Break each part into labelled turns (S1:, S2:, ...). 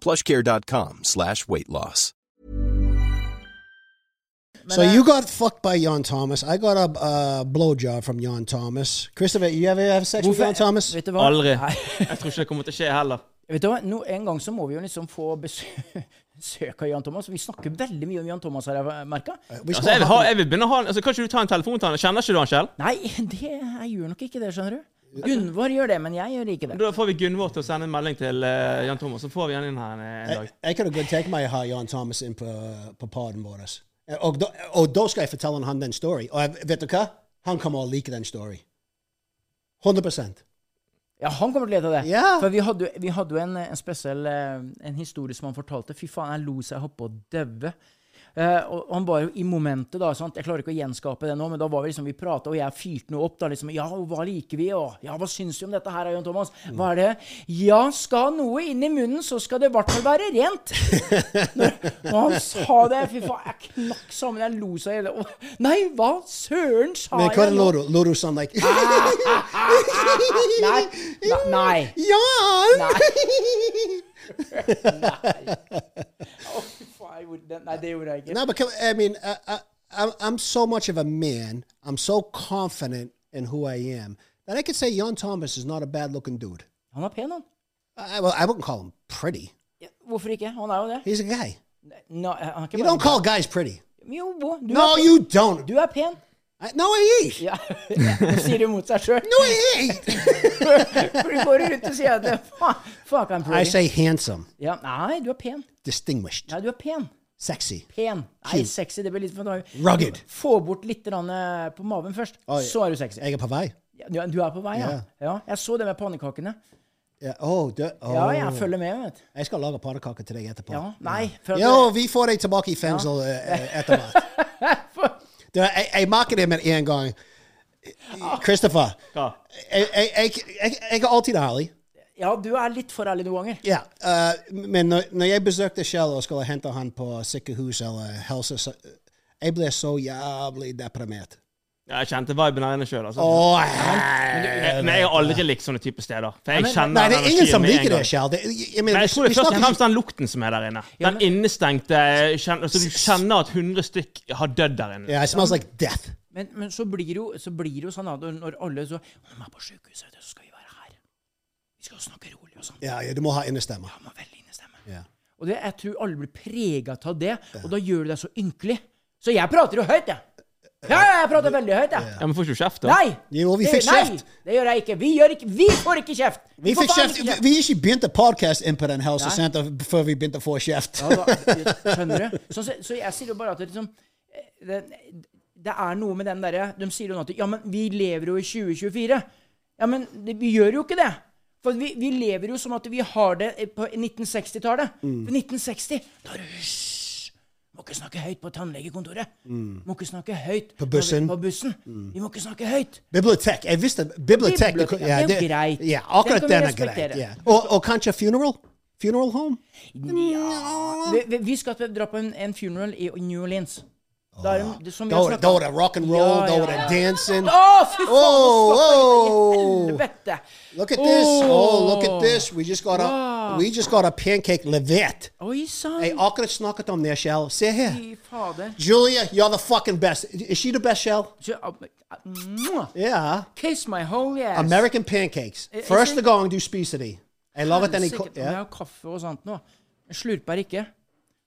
S1: Plushcare.com slash weight loss.
S2: So
S3: eh, uh,
S2: you got fucked by Jan Thomas. I got a uh, blowjob from Jan Thomas. Christopher, you ever have sex with Jan Thomas?
S3: Vet du hva?
S4: Aldri.
S3: Nei.
S4: Jeg tror ikke det kommer til å skje heller.
S3: Vet du hva? Nå, en gang så må vi jo liksom få besøk av Jan Thomas. Vi snakker veldig mye om Jan Thomas, har jeg merka.
S2: Vi skal
S4: Altså, jeg, vil
S2: ha-
S4: ha, jeg vil begynne å ha en altså, Kan ikke du ta en telefon til han? Kjenner ikke du han selv?
S3: Nei, det, jeg gjør nok ikke det, skjønner du. Gunvor gjør det, men jeg gjør ikke det.
S4: Da får vi Gunvor til å sende en melding til eh, Jan Thomas, så får vi han inn her en, en dag.
S2: Jeg, jeg kunne godt tenke meg å ha Jan Thomas uh, inn på, på poden vår. Og, da- og da skal jeg fortelle han den story. Og jeg, vet du hva? Han kommer å like den story. 100
S3: Ja, Han kommer til å lete av det.
S2: Ja.
S3: For vi hadde, vi hadde jo en, en spesiell eh, en historie som han fortalte. Fy faen, jeg lo så jeg holdt på å daue. Eh, og og han var jo i momentet, da. Sant? Jeg klarer ikke å gjenskape det nå, men da var vi liksom, vi prata, og jeg fyrte noe opp. da liksom, Ja, og hva liker vi? Og ja, hva syns vi om dette her, Jan Thomas?
S2: Mm.
S3: Hva er det? Ja, skal noe inn i munnen, så skal det i hvert fall være rent. Når han sa det, fy faen, jeg knakk sammen. Jeg lo så jeg hele Å, Nei, hva søren sa
S2: Men hva
S3: jeg
S2: er det
S3: nå?
S2: Loro? Loro sånn like
S3: Nei, nei, nei.
S2: Jan!
S3: Nei. Å, fy faen, jeg gjorde det. Nei, det gjorde jeg ikke.
S2: No, because I mean, I, I, I'm, I'm so much of a man. I'm so confident in who I am that I could say Jan Thomas is not a bad looking dude.
S3: Han er pen, han.
S2: I, well, I wouldn't call him pretty.
S3: Hvorfor ikke? Han er jo det.
S2: He's a guy.
S3: No, han er ikke
S2: You
S3: bare-
S2: don't call guys pretty.
S3: Jo, Bo, du
S2: No,
S3: er pen.
S2: you don't.
S3: Du er pen.
S2: I, no, I ain't.
S3: Ja. Nå sier du mot seg sjøl.
S2: No, I ain't.
S3: For du går rundt og sier at det- fa- Fuck, I'm
S2: I
S3: pretty.
S2: say handsome,
S3: Ja, nei, du er pen.
S2: distinguished,
S3: Nei, du er pen.
S2: sexy,
S3: Pen. Nei, sexy. Det blir litt for
S2: rugged.
S3: Få bort litt grann, eh, på maven først,
S2: Oi.
S3: så er du sexy.
S2: Jeg er på vei.
S3: Ja, Du er du er på vei, ja.
S2: Ja.
S3: ja. Jeg så det med pannekakene.
S2: Ja, oh, du, oh.
S3: Ja, jeg følger med, vet du.
S2: Jeg skal lage pannekaker til deg etterpå.
S3: Ja, nei, for at-
S2: Jo, vi får deg tilbake i fengsel eh, eh, etter mat. Du, jeg, jeg maker det med en gang. Christopher,
S4: Hva?
S2: jeg, jeg, jeg, jeg, jeg er alltid ærlig.
S3: Ja, du er litt for ærlig noen ganger.
S2: Ja, eh, men når, når jeg besøkte Kjell og skulle hente han på sykehus eller helse, så jeg ble så jævlig deprimert.
S4: Ja, Jeg kjente viben her inne sjøl. Altså.
S2: Åh,
S4: Men men jeg har aldri likt sånne type steder. For jeg kjenner
S2: nei, det
S4: den
S2: er ingen
S4: energien
S2: som
S4: med en
S2: liker det,
S4: gang.
S2: Kjell. Det, jeg, jeg,
S4: Men
S2: mener,
S4: jeg tror det
S2: vi
S4: er først og
S2: snakker-
S4: fremst den lukten som er der inne. Den innestengte kjen, altså, Du kjenner at 100 stykk har dødd der inne.
S2: Yeah, it smells like death.
S3: Men, men så blir det jo, så blir det jo sånn at når alle så Om er på sykehuset, vet du, så skal vi være her. Vi skal snakke rolig og sånn.
S2: Ja, ja, du må ha innestemme.
S3: Man må veldig innestemme.
S2: Ja.
S3: Og det, jeg tror alle blir prega av det, og da gjør du deg så ynkelig. Så jeg prater jo høyt, jeg. Ja, ja, jeg prater veldig høyt, jeg.
S4: Ja, Men får ikke du kjeft, da?
S3: Nei!
S2: Jo, vi
S3: det-
S2: fikk
S3: nei,
S2: kjeft.
S3: Det gjør jeg ikke. Vi, gjør ikke. vi får ikke kjeft!
S2: Vi
S3: får
S2: fikk
S3: faen
S2: kjeft.
S3: ikke
S2: Vi vi er ikke begynt å podcast inn på den helsesenteret før vi begynte å få kjeft.
S3: Ja, da, skjønner du? Så, så, så jeg sier jo bare at det, liksom, eh, det, det er noe med den derre De sier jo nå at ja, men vi lever jo i 2024. Ja, men det, vi gjør jo ikke det. For vi, vi lever jo som at vi har det eh, på 1960-tallet. For 1960, da er det hysj. Må ikke snakke høyt på tannlegekontoret. Må ikke snakke høyt
S2: På bussen.
S3: Mm. På, bussen. Mm. Vi må ikke snakke høyt.
S2: Bibliotek. Jeg visste bibliotek.
S3: Bibliotek, ja, det er jo greit.
S2: Ja,
S3: Den
S2: akkurat
S3: kan vi
S2: den er greit.
S3: respektere.
S2: Ja. Og, og kanskje funeral? Funeral home?
S3: Vi, vi- vi skal til- dra på en, en funeral i New Orleans. Ah. Da er det, som vi har
S2: Go,
S3: snakket
S2: go
S3: om-
S2: to rock and roll,
S3: Ja,
S2: go
S3: ja,
S2: to
S3: ja.
S2: dancing.
S3: Å, fy faen!
S2: Whoa,
S3: nå stopper jeg. I
S2: whoa.
S3: Helvete!
S2: Look at this. Oh, look at
S3: Åh.
S2: this. We just got a we just got a pancake levet.
S3: Oi sann!
S2: Hey, akkurat snakket om there, Shell. Sit here.
S3: Fy fader.
S2: Julia, you're the fucking best. Is she the best, Shell?
S3: Så, ah, ah, mwah.
S2: Yeah.
S3: Kiss my holy ass.
S2: American pancakes.
S3: I- I
S2: First
S3: think-
S2: the going do spicity. I love it. Then he co-
S3: Helsike, Jeg
S2: yeah.
S3: har kaffe og sånt nå. Jeg slurper ikke.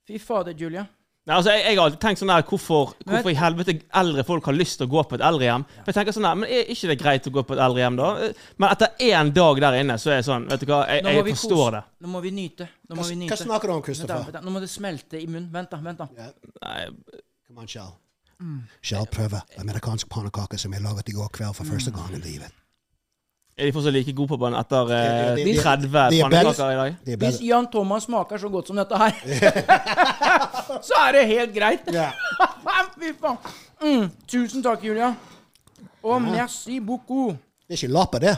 S3: Fy fader, Julia.
S4: Nei, altså, jeg, jeg har alltid tenkt sånn her, hvorfor,
S3: Men-
S4: hvorfor i helvete eldre folk har lyst til å gå på et eldrehjem? For jeg tenker sånn her, men Er ikke det greit å gå på et eldrehjem, da? Men etter én dag der inne, så er jeg sånn Vet du hva, jeg,
S3: Nå må
S4: jeg
S3: vi
S4: forstår
S3: kose.
S4: det.
S3: Nå må vi nyte. Nå må
S2: Hva-
S3: vi
S2: hva
S3: nyte.
S2: snakker du om, Christopher?
S3: Vent da, vent da. Nå må det smelte i munnen. Vent, da. vent da.
S4: Nei,
S2: Come on, Shell.
S3: Mm.
S2: Shell prøver amerikansk pannekake som jeg laget i går kveld for første
S3: Mm.
S2: gang i livet.
S4: er de fortsatt like gode på banen etter eh,
S2: Det- det- det-
S4: 30
S2: det er bedre-
S4: pannekaker i dag?
S2: Det er bedre.
S3: Hvis Jan Thomas smaker så godt som dette her, så er det helt greit.
S2: Ja.
S3: Fy faen. Mm, tusen takk, Julia. Og merci beaucoup.
S2: Det er ikke lapper, det.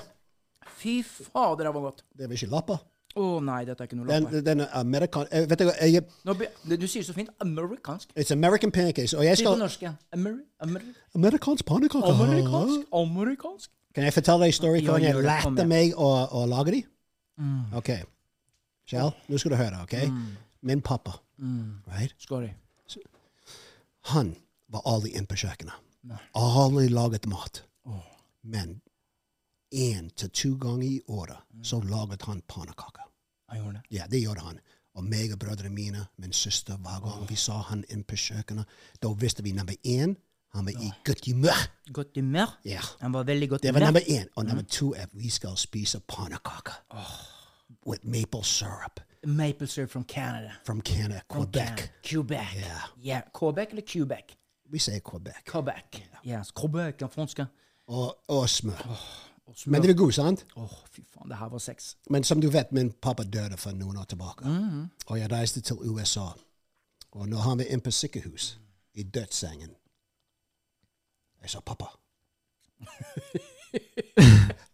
S3: Fy fader, det var godt.
S2: Det er vel ikke lapper.
S3: Å nei, dette er ikke noe
S2: Den,
S3: lappe.
S2: den er amerikan... eh, Vet du hva, jeg,
S3: Nå be- Du sier så fint amerikansk.
S2: it's American pancakes. Oh, Og jeg
S3: Si på
S2: skal
S3: norsk igjen. Ameri- ameri-
S2: Amerikansk pannekake.
S3: Amerikansk? Amerikansk?
S2: Kan jeg fortelle deg en story
S3: Oh, Ja, Mm.
S2: hvordan jeg
S3: gjør det. Kom
S2: lærte
S3: igjen.
S2: meg å, å lage de? Ok. Kjell, nå skal du høre, ok?
S3: Mm.
S2: Min pappa, right?
S3: Sorry.
S2: han var aldri inne på kjøkkenet. Aldri laget mat. Men én til to ganger i året
S3: Mm.
S2: så laget han pannekaker.
S3: Jeg gjorde det.
S2: Ja, det gjorde han. Og meg og brødrene mine, min søster, hver gang vi så han inn på kjøkkenet, da visste vi nummer én, han var i godt humør.
S3: Godt humør.
S2: Ja.
S3: Han var veldig godt
S2: Det var nummer
S3: humør.
S2: én. Og
S3: Mm.
S2: nummer to er vi skal spise pannekaker with maple syrup
S3: Maple syrup from Canada.
S2: from Canada,
S3: From
S2: Quebec.
S3: Canada. Quebec.
S2: Yeah.
S3: Yeah. Quebec eller Quebec?
S2: Vi sier Quebec.
S3: Quebec. Yes. Quebec, den franske.
S2: Og, og smør.
S3: Og
S2: Men
S3: smør.
S2: det er god, sant?
S3: Åh, fy faen, det her var sex.
S2: Men som du vet, min pappa døde for noen år tilbake.
S3: Mhm.
S2: Og jeg reiste til USA. Og når han var inne på sykehus, i dødssengen Jeg sa, 'Pappa'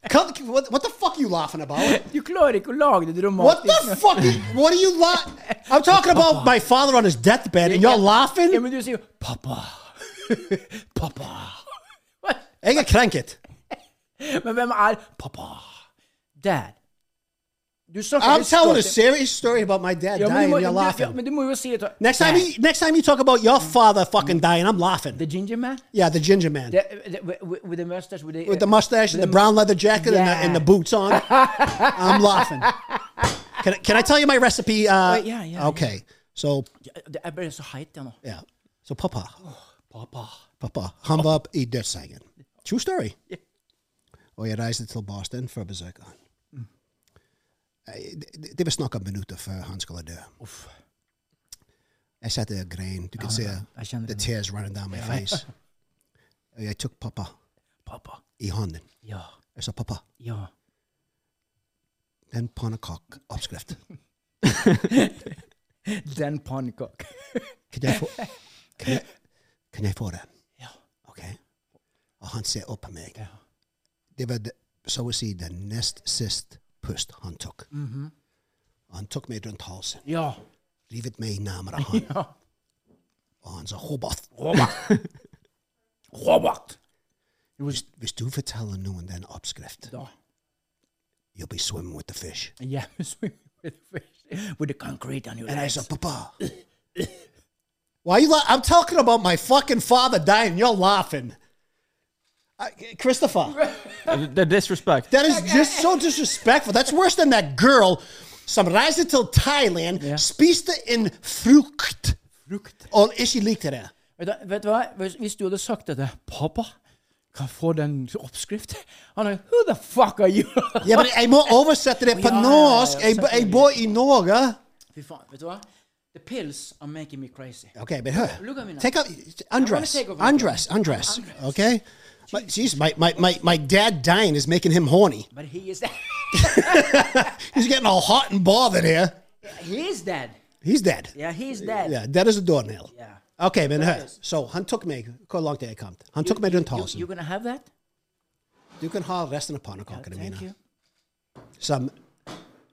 S2: Come, what, what the fuck are you laughing about?
S3: Du klarer ikke å lage det
S2: What
S3: dramatisk.
S2: the fuck? Is, what are you laughing? I'm talking about my father on his deathbed, and you're laughing.
S3: Ja, men du sier jo 'pappa'. pappa.
S2: Jeg er krenket.
S3: Men hvem er 'pappa'? Dad. Du snakker
S2: I'm
S3: litt
S2: telling a
S3: stolt.
S2: serious story about my dad
S3: Ja, men du
S2: dying,
S3: må-
S2: and you're
S3: du- ja,
S2: laughing.
S3: Men du må jo si det.
S2: Next time,
S3: Dad.
S2: you, next time you talk about your father fucking dying, I'm laughing.
S3: Mm. The ginger man?
S2: Yeah, the ginger man
S3: The, the, with, with the mustache? With the,
S2: with the mustache and the brown leather jacket and, the, and the
S3: Yeah.
S2: boots on. I'm laughing. Can I, can I tell you my recipe? Uh,
S3: Wait, yeah, yeah,
S2: Okay, so
S3: Jeg ble er så heit, jeg nå.
S2: yeah, so Papa, Papa, han var i dødssengen. True story. Og jeg reiste til Boston for å besøke han. Eh, Det det var snakk om minutter før han skulle dø. Jeg satt der og grein. Du kan se
S3: jeg kjenner
S2: the
S3: det.
S2: tears running down my face. Og jeg tok pappa
S3: Pappa.
S2: i hånden.
S3: Ja.
S2: Jeg sa, 'Pappa,
S3: Ja.
S2: en pannekakeoppskrift.
S3: Den pannekak.
S2: Kan jeg få kan jeg, kan jeg få det?
S3: Ja.
S2: Ok? Og han ser opp på meg. Det var det, så å si den nest sist pust han tok. Og Han tok meg rundt halsen,
S3: Ja.
S2: livet meg nærmere han,
S3: ja.
S2: og han sa, 'Robert,
S3: Robert. Robert.
S2: hvis, hvis du forteller noen den oppskrift,
S3: Da.
S2: you'll be swimming with the fish'.
S3: Yeah, swimming with the fish. With the concrete on your
S2: And I
S3: legs.
S2: said, Papa, why you? La- I'm talking about my fucking father dying. You're laughing, I, Christopher.
S4: Det er disrespect.
S2: That is just so disrespectful. That's worse than that girl. Some reiser til Thailand,
S3: Yeah.
S2: spiste en frukt,
S3: Frukt.
S2: og ikke likte det.
S3: Vet du, vet du hva? Hvis, hvis du hadde sagt dette Pappa, kan jeg få den oppskrift? Han er Who the fuck are you?
S2: Ja, men jeg må oversette det på
S3: Ja, ja, ja,
S2: norsk.
S3: ja,
S2: Jeg,
S3: selvfølgelig.
S2: jeg bor i Norge.
S3: Fy faen. Vet du hva? The pills are making me crazy.
S2: Ok, men hør.
S3: Look at me now.
S2: Take out, undress,
S3: take over.
S2: undress, undress, ok? My, jeez, my, my, my, my dad dying is making him horny.
S3: But he is dead.
S2: He's getting all hot and bothered here.
S3: He is dead.
S2: He's dead.
S3: Yeah, he's dead.
S2: Yeah, dead as a doornail.
S3: Yeah.
S2: Okay, men
S3: There
S2: her.
S3: is.
S2: Så han tok meg Hvor langt er jeg kommet? Han tok meg rundt
S3: You,
S2: halsen.
S3: you gonna have that?
S2: Du kan ha resten av pannekakene
S3: Thank you.
S2: mine. Som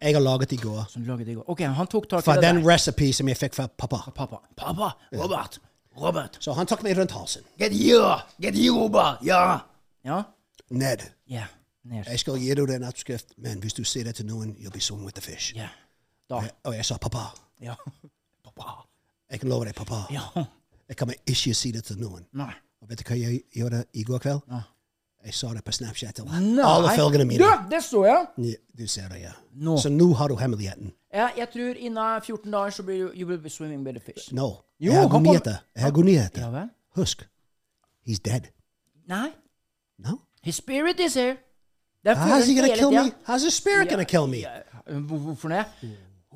S2: jeg har laget i går.
S3: Som laget i går. Ok, han tok tak i
S2: Fra
S3: det
S2: den
S3: der.
S2: recipe som jeg fikk fra pappa.
S3: Pappa. Pappa! Robert! Robert!
S2: Så han tok meg rundt halsen.
S3: Get you! Get you, Robert! Ja! Ja?
S2: Ned.
S3: Ja. Ned.
S2: Jeg skal gi deg den oppskrift, men hvis du sier det til noen, you'll be swimming with the fish.
S3: Ja. Da.
S2: Og jeg sa pappa.
S3: Ja. Pappa.
S2: Jeg kan love deg, pappa.
S3: Ja.
S2: Jeg kan ikke si det til noen.
S3: Nei.
S2: Og vet du hva jeg gjorde i går kveld? Jeg sa det på Snapchat til alle
S3: Nei.
S2: følgene
S3: Du,
S2: mine.
S3: det så jeg!
S2: Ja, Du ser det, ja.
S3: Nå.
S2: Så nå har du hemmeligheten.
S3: Jeg, jeg tror innen 14 dager så blir du You will be swimming with the fish.
S2: No.
S3: Jo,
S2: Jeg har
S3: han
S2: gode
S3: kom-
S2: nyheter. Jeg har gode
S3: Ja
S2: nyheter.
S3: vel?
S2: Husk, he's dead.
S3: Nei.
S2: No?
S3: His spirit is here. Det er
S2: How's he
S3: følelsen
S2: Ah, gonna
S3: hele
S2: kill
S3: tida.
S2: me? How's his spirit gonna kill me?
S3: Uh, hvor- Hvorfor det?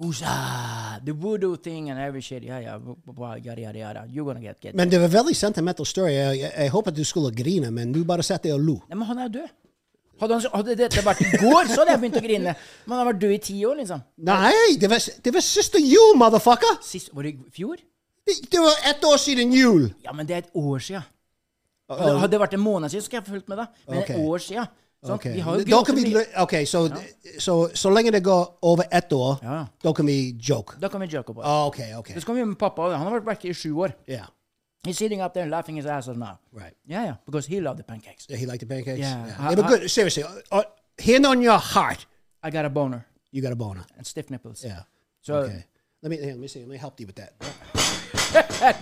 S3: Husa, the voodoo thing and every shit. Ja, ja, bu- bu- bu- yada, yada, yada. You're gonna get get.
S2: Men det var veldig sentimental story. Jeg, jeg, jeg håper du skulle grine, men du bare satt der og lo.
S3: Nei, men han er jo død. Hadde, han, hadde dette vært i går, så hadde jeg begynt å grine. Men han har vært død i ti år, liksom.
S2: Nei, det var, det var siste jul, motherfucker!
S3: Sist, var det i fjor?
S2: Det, det var ett år siden jul!
S3: Ja, men det er et år sia. Hadde, hadde det vært en måned siden, skulle jeg fulgt med deg. Men det er et
S2: Ok.
S3: år sia. Sant?
S2: Oh, Okay.
S3: Vi har jo
S2: Da kan
S3: grått
S2: vi,
S3: mye.
S2: lø- ok, så, så, så lenge det går over ett år,
S3: Ja.
S2: da kan vi joke.
S3: Da kan vi joke på det.
S2: Ah, ok, ok.
S3: Så skal vi med pappa. Han har vært borte i sju år.
S2: Yeah,
S3: He's sitting up there and laughing his ass off now.
S2: right.
S3: Yeah, yeah, because he loved the pancakes.
S2: He liked the pancakes?
S3: Yeah.
S2: They were
S3: I-
S2: good. Seriously, uh, uh, hand on your heart,
S3: I got a boner
S2: you got a boner.
S3: and stiff nipples.
S2: Yeah.
S3: So,
S2: Okay. Let me, here, let me see. Let me help you with that.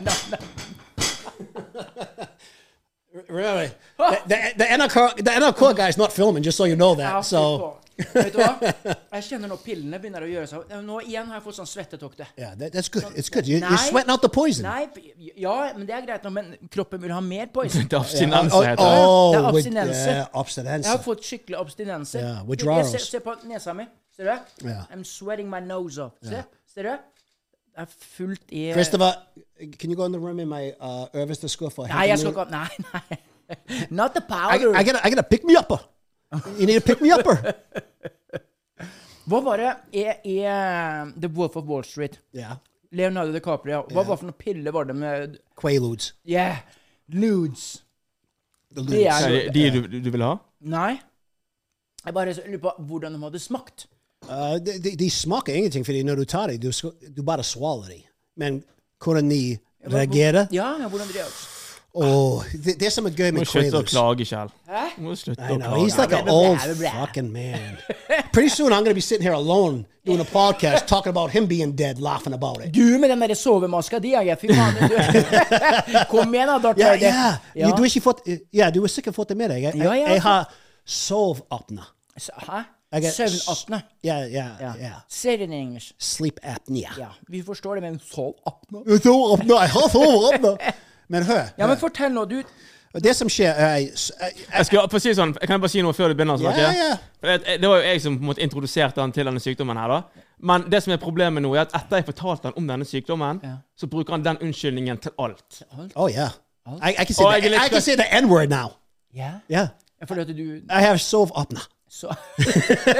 S3: no, no.
S2: Really? the, the, the, NL, the NL court guy is not filming, just so you know that.
S3: Ja, fy
S2: so,
S3: faen. Vet du hva? Jeg kjenner når pillene begynner å gjøre seg Nå igjen har jeg fått sånn svettetokte.
S2: yeah, that, that's good. It's good. You,
S3: Nei.
S2: you're sweating out the poison.
S3: Nei, ja, men det er greit, nå, men kroppen vil ha mer poison.
S4: Det er abstinense,
S2: Oh,
S4: heter det.
S2: oh,
S3: Det er
S2: with-
S3: abstinenser.
S2: yeah, abstinenser.
S3: Jeg har fått skikkelig abstinenser.
S2: Ja,
S3: Jeg-
S2: withdrawals.
S3: Jeg ser, ser på nesa mi. Ser du?
S2: Ja.
S3: I'm sweating my nose off. Ser, ser du? Det er fullt i
S2: Christopher, can you go in the room in my uh, øverste skuffe?
S3: Nei, jeg skal ikke Nei, nei. Not the
S2: I,
S3: powder.
S2: I gotta, I gotta pick me upper. You need a pick me upper.
S3: Hva var det i, i eh, The Wolf of Wall Street?
S2: yeah,
S3: Leonardo DiCaprio. Hva var det for noen piller var det med
S2: Quaaludes.
S3: Yeah. Ludes.
S2: The
S3: Det
S2: ludes.
S3: er
S4: De, de du, du vil ha?
S3: Nei. Jeg bare lurer på hvordan de hadde smakt.
S2: Uh, de, de, de smaker ingenting fordi når du tar det, du, sk- du bare swallow det. Men hvordan de reagerer
S3: Ja, ja, hvordan de gjør.
S2: Åh, det, det som er gøy
S4: Må
S2: med
S4: slutte å
S2: Quaaludes
S4: klage, Kjell. Må slutte
S2: I
S4: å
S2: know, he's
S4: klage.
S2: like an old fucking man. Pretty soon I'm gonna be sitting here alone doing a podcast talking about him being dead, laughing about it.
S3: Du med den der sovemaska di, jeg. Fy faen. du. Kom igjen, da, Darth
S2: Ja,
S3: Vader.
S2: ja.
S3: Ja.
S2: Du, du har ikke fått Ja, du har sikkert fått det med deg. Jeg,
S3: Ja, ja,
S2: jeg, jeg har sovapne.
S3: S- Hæ?
S2: Jeg er-
S3: Søvnapne.
S2: Ja, ja,
S3: Ja.
S2: ja.
S3: Say it in English.
S2: Sleep apnea.
S3: Ja, vi forstår det, men sovapne?
S2: Sovapne, jeg har sovapne! Men hør,
S3: Ja, men
S2: hør.
S3: fortell nå, du.
S2: det som skjer er jeg, s- jeg, jeg,
S4: Jeg skal få si sånn, kan jeg bare si noe før du begynner å
S2: Ja,
S4: snakke?
S2: ja, ja.
S4: For Det, det var jo jeg som på en måte introduserte han til denne sykdommen her. da. Men det som er problemet nå, er at etter jeg fortalte han om denne sykdommen, så bruker han den unnskyldningen til alt.
S2: Oh, yeah. I, I can say
S4: Oh, I
S2: the,
S4: can
S2: I can
S4: express-
S2: say the N-word now.
S3: Ja?
S2: Yeah.
S3: Fordi at du
S2: I have sovapne.
S3: så,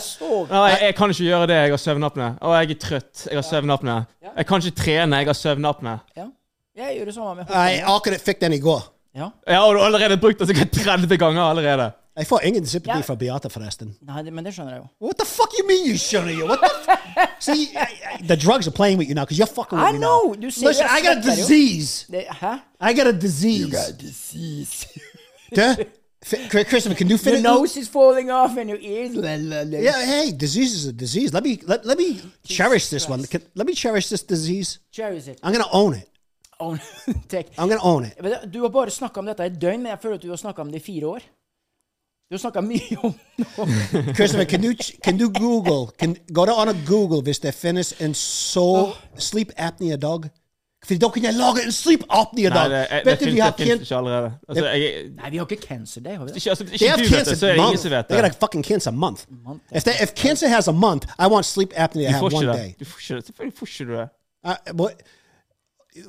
S3: sov...
S4: Nei, jeg, jeg kan ikke gjøre det. Jeg har søvnapne. Å, jeg er trøtt. Jeg har søvnapne. Jeg kan ikke trene. Jeg har søvnapne.
S3: Ja. Jeg gjør det samme med
S2: Jeg akkurat fikk den i går.
S3: Ja.
S4: Ja, og du har allerede brukt den sikkert 30 ganger allerede.
S2: Jeg får ingen sympati
S3: Ja.
S2: fra Beate, forresten.
S3: Nei, det- men det skjønner jeg jo.
S2: What the fuck you mean you shouldn't? You what the? F- See, I, I, the drugs are playing with you now because you're fucking with
S3: I
S2: me
S3: know.
S2: Now.
S3: You see,
S2: Listen,
S3: that's
S2: I got a
S3: not better.
S2: disease.
S3: Det, hæ?
S2: I got a disease. You got a disease. Christopher, can you fit
S3: Your
S2: it?
S3: nose is falling off and your ears
S2: Yeah. Hey, disease is a disease. Let me let, let me cherish this one. Can, let me cherish this disease.
S3: Cherish it.
S2: I'm gonna own it.
S3: Own. Take.
S2: I'm gonna own it.
S3: Men det- Du har bare snakka om dette i et døgn, men jeg føler at du har snakka om det i fire år. Du har snakka mye om det.
S2: Christopher, can you ch- can you Google can go to on a Google hvis det finnes en so sleep apnea dog? For da kan jeg lage en sleep apnea
S4: Nei,
S2: dog.
S4: det, jeg, det,
S2: Vet du, vi
S4: finnes,
S2: har
S4: det finnes
S2: kjent
S4: ikke allerede. Altså, jeg,
S3: Nei, vi har ikke cancer day, har vi det?
S4: ikke, altså, hvis
S2: They
S4: ikke
S2: have
S4: du vet det,
S2: cancer
S4: så er det ingen
S2: month.
S4: som vet
S2: They got a
S4: det.
S2: fucking cancer month. If they, if cancer has a month, I want sleep apnea to
S4: Du
S2: have
S4: får
S2: one
S4: ikke det.
S2: day.
S4: Du får ikke det. Selvfølgelig får ikke du det.
S2: Uh, what,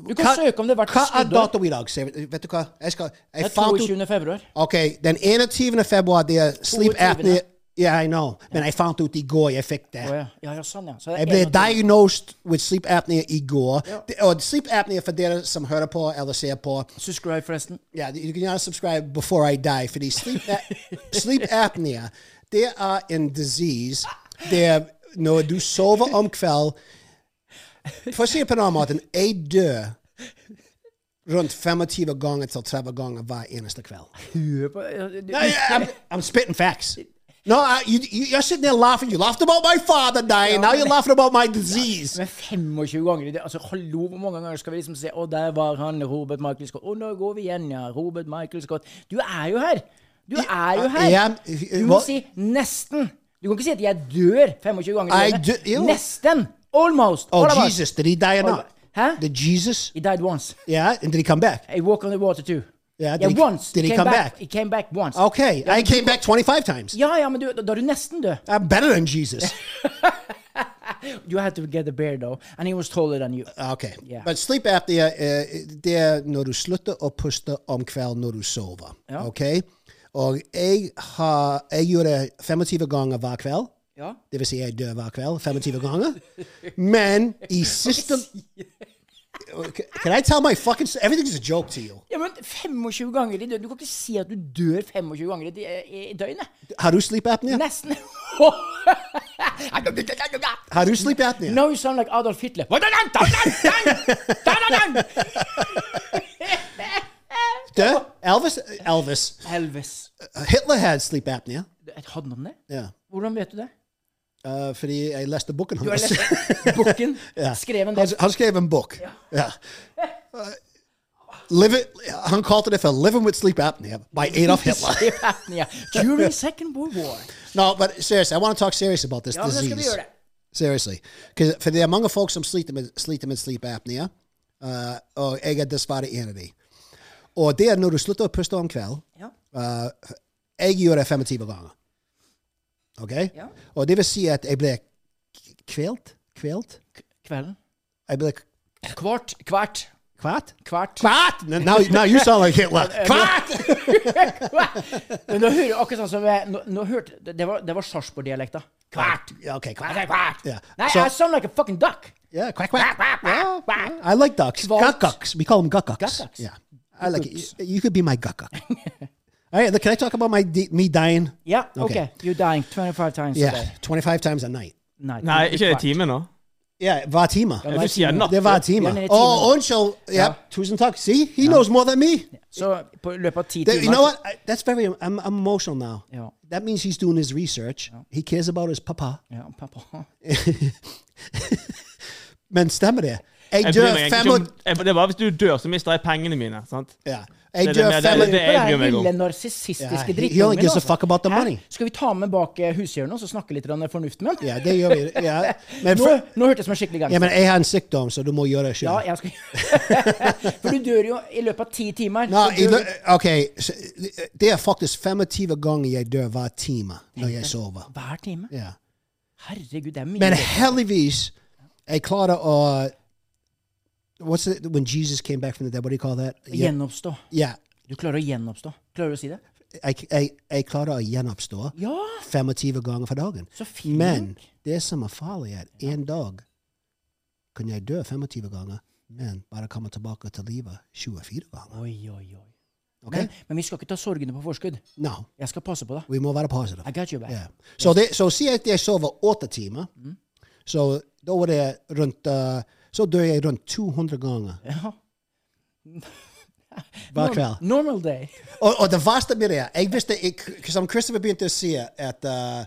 S3: Du kan søke om det hvert
S2: hva er
S3: skuddår.
S2: datoen i dag? Sier vi- Vet du hva? Jeg skal
S3: Det
S2: Jeg
S3: er
S2: fant ut
S3: 22. februar.
S2: Ok, den 21. februar, det er sleep
S3: 22.
S2: apnea Yeah, I know. Men jeg fant ut i går jeg fikk det.
S3: Å ja. Ja, ja, sånn, ja. Så det er
S2: Jeg ble
S3: 21.
S2: diagnosed with sleep apnea i går. Det- Og sleep apnea for dere som hører på eller ser på
S3: Subscribe, forresten.
S2: Ja, you can not subscribe before I die fordi sleep, ap- sleep apnea, det er en disease der når du sover om kvelden For å si det på en annen måte jeg dør rundt 25 ganger til 30 ganger hver eneste kveld.
S3: Huet på du- du-
S2: I, I'm, I'm spitting facts. No, I, you, you- you're sitting there laughing. You laughed about my father dying. Now you're laughing about my disease.
S3: Men 25 ganger i det, altså hallo, hvor mange ganger skal vi liksom se Å, der var han, Robert Michael Scott. Å, nå går vi igjen, ja. Robert Michael Scott. Du er jo her! Du er jo her!
S2: I am-
S3: Du må
S2: well-
S3: si 'nesten'. Du kan ikke si at 'jeg dør' 25 ganger. i
S2: I
S3: livet.
S2: do- jo.
S3: Nesten! Almost!
S2: Oh,
S3: All of us.
S2: Jesus. Did he die or not?
S3: Oh, Huh?
S2: Did Jesus?
S3: He died once.
S2: Yeah. And did he come back?
S3: He walked on the water too.
S2: Yeah, did
S3: yeah
S2: he-
S3: once.
S2: did he
S3: came
S2: come back?
S3: He came back once.
S2: Okay. I came back 25 times.
S3: Ja, ja, men du, da da er du nesten død.
S2: I'm better than Jesus.
S3: You had to get the beard though, and he was taller than you.
S2: Okay.
S3: Yeah.
S2: But sleep apnea, eh, det er når du slutter å puste om kvelden når du sover.
S3: Ja.
S2: Ok? Og jeg, har, jeg gjør det 25 ganger hver kveld.
S3: Ja.
S2: Det vil si jeg dør hver kveld 25 ganger. Men i siste Can I tell my fucking Everything's a joke to you.
S3: Ja, men 25 ganger i døgnet. Du kan ikke si at du dør 25 ganger i, i, i døgnet.
S2: Har du sleep apnea?
S3: Nesten.
S2: Har du sleep apnea?
S3: Now you sound like Adolf Hitler.
S2: Dø? Elvis? Elvis.
S3: Elvis.
S2: Hitler had sleep apnea.
S3: Hadde han det?
S2: Yeah.
S3: Hvordan vet du det?
S2: Eh, fordi jeg leste boken
S3: Du har
S2: hans.
S3: lest boken. Skrev en
S2: Han,
S3: del.
S2: han skrev en bok. Ja. Uh, live it, han kalte det for 'Living with Sleep Apnea' by Adolf Hitler.
S3: apnea During Second World War.
S2: no, but seriously, I want to talk serious about this
S3: Ja, men da skal vi
S2: disease.
S3: gjøre det.
S2: Seriously. 'Cause- For det er mange folk som sliter med, sliter med sleep apnea, uh, og jeg er dessverre en av dem. Og det er når du slutter å puste om kvelden.
S3: Ja.
S2: Uh, jeg gjør det 25 ganger. OK?
S3: Ja.
S2: Og det vil si at jeg ble k- kvelt? Kvelt?
S3: Kvelden.
S2: Jeg ble
S3: Kvart. Kvart.
S2: kvart?
S3: Kvart.
S2: Kvart! N- Now, now you sound like Hitler. Kvart!
S3: Men nå hører jeg akkurat sånn som jeg, nå, nå hørte, Det var, det var Sarpsborg-dialekta. Kvart.
S2: Yeah, okay,
S3: I
S2: quack.
S3: said quack.
S2: Yeah.
S3: Now
S2: So-
S3: I sound like a fucking duck.
S2: Yeah, quack, quack. Yeah, yeah. I like ducks.
S3: Kvart.
S2: Guckucks. We call them guckucks.
S3: Guckucks.
S2: Yeah. I like it. You, you could be my guckuck. All right, look, can I talk about my di- me dying?
S3: Yeah, okay.
S2: Okay.
S3: You're dying 25 times
S2: Yeah,
S3: today.
S2: 25 times a night.
S3: Night.
S4: Nei, ikke det timen, da?
S2: Yeah, Vatima.
S4: Ja, du sier natt.
S2: Det var Tima.
S3: Yeah,
S2: Oh,
S3: Tima.
S2: Unchel. Yeah, tusen takk. See, he knows more than me.
S3: Så på løpet av ti
S2: That-
S3: timer
S2: you know what? I, that's very, I'm, I'm emotional now.
S3: Ja.
S2: That means he's doing his research. He cares about his papa.
S3: Ja, pappa.
S2: Men stemmer det? Jeg
S4: Jeg bryr
S2: dør
S4: meg
S2: fem
S4: egentlig
S2: og...
S4: ikke om jeg- Det er bare hvis du dør, så mister jeg pengene mine. sant?
S2: Ja.
S4: Det
S2: Jeg
S4: er det
S2: dør fem
S4: med- det er-
S2: og...
S4: det er- jeg bryr
S3: Den
S4: meg om.
S3: lille narsissistiske
S2: Ja, he- he
S3: drittungen.
S2: only gives a fuck about the
S3: Hæ?
S2: money.
S3: Skal vi ta med bak eh, hushjørnet og så snakke litt om fornuftmenn?
S2: Ja, det gjør vi. Ja. Men,
S3: Nå,
S2: for,
S3: nå hørtes det som en skikkelig gang.
S2: ja, men jeg har en sykdom, så du må gjøre det
S3: ja,
S2: sjøl.
S3: jeg skal For du dør jo i løpet av ti timer.
S2: No,
S3: så dør du
S2: OK, så det er faktisk 25 ganger jeg dør hver time når jeg sover.
S3: hver time.
S2: Ja.
S3: Herregud, det er mye.
S2: Men heldigvis, jeg klarer å uh, What's it, when Jesus came back from the dead? What do you call that? Yeah,
S3: Gjenoppstå.
S2: yeah.
S3: Du klarer å gjenoppstå. Klarer du å si det?
S2: Jeg, jeg, jeg klarer å gjenoppstå
S3: Ja!
S2: 25 ganger for dagen.
S3: Så flink.
S2: Men det som er farlig, er at en dag kan jeg dø 25 ganger, men bare komme tilbake til livet 24 ganger.
S3: Oi, oi, oi.
S2: Ok?
S3: Men, men vi skal ikke ta sorgene på forskudd.
S2: No.
S3: Jeg skal passe på deg.
S2: Vi må være positive.
S3: I got you back.
S2: Ja. Så, det, så si at jeg sover åtte timer,
S3: Mm.
S2: så da var det rundt eh, Så dør jeg rundt 200 ganger
S3: Ja.
S2: hver kveld.
S3: Normal day.
S2: Og, og det verste med det er jeg visste ikke, Som Christopher begynte å si, at eh,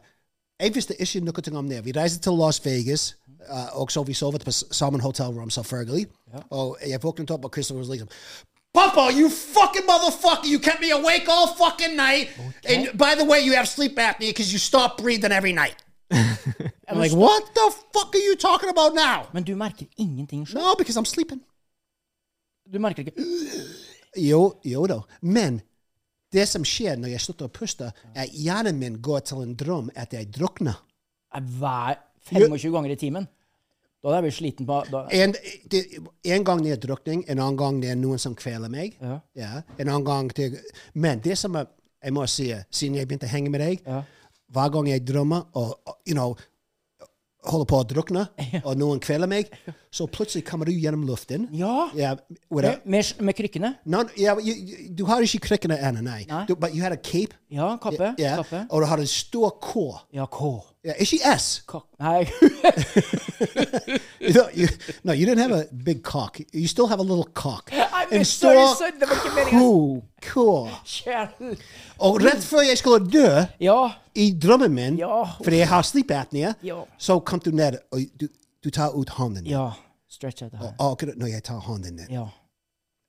S2: jeg visste ikke noe om det. Vi reiste til Las Vegas, eh, og så vi sovet på s- sammen hotellrom, selvfølgelig. er. Og jeg våknet opp, og Christopher var liksom Papa, you fucking motherfucker! You kept me awake all fucking night! And by the way, you have sleep apnea because you stop breathing every night. I'm like, what the fuck are you talking about now?
S3: Men du merker ingenting sjøl.
S2: No, because I'm sleeping.
S3: Du merker ikke
S2: Jo, jo da. Men det som skjer når jeg slutter å puste, er at hjernen min går til en drøm at jeg drukner.
S3: Er hver 25 ganger i timen. Da hadde jeg blitt sliten på da,
S2: En, det, en gang det er drukning, en annen gang det er noen som kveler meg.
S3: Ja.
S2: En annen gang det, Men det som er, jeg må si, siden jeg begynte å henge med deg,
S3: Ja.
S2: hver gang jeg drømmer og, og, you know, holder på å drukne, og noen kveler meg, så plutselig kommer du gjennom luften.
S3: Ja.
S2: Yeah,
S3: Med,
S2: without,
S3: med, med krykkene?
S2: no, no, yeah, you, you, du har ikke krykkene ennå, nei.
S3: Nei.
S2: Du, but you had a cape,
S3: Ja, kappe.
S2: yeah,
S3: kappe.
S2: og du har en stor K.
S3: Ja, K.
S2: Yeah, ikke S.
S3: Cock. Nei.
S2: You don't- you- no, you didn't have a big cock. You still have a little cock.
S3: I'm sorry,
S2: En stor
S3: son. Det var ikke meningen.
S2: K. K.
S3: Kjære.
S2: Og rett før jeg skulle dø,
S3: Ja.
S2: i drømmen min,
S3: Ja.
S2: fordi jeg har sleep apnea,
S3: Ja.
S2: så kom du ned, og du, du tar ut hånden din.
S3: Ja. Stretch out det her.
S2: Og akkurat når jeg tar hånden din,
S3: Ja.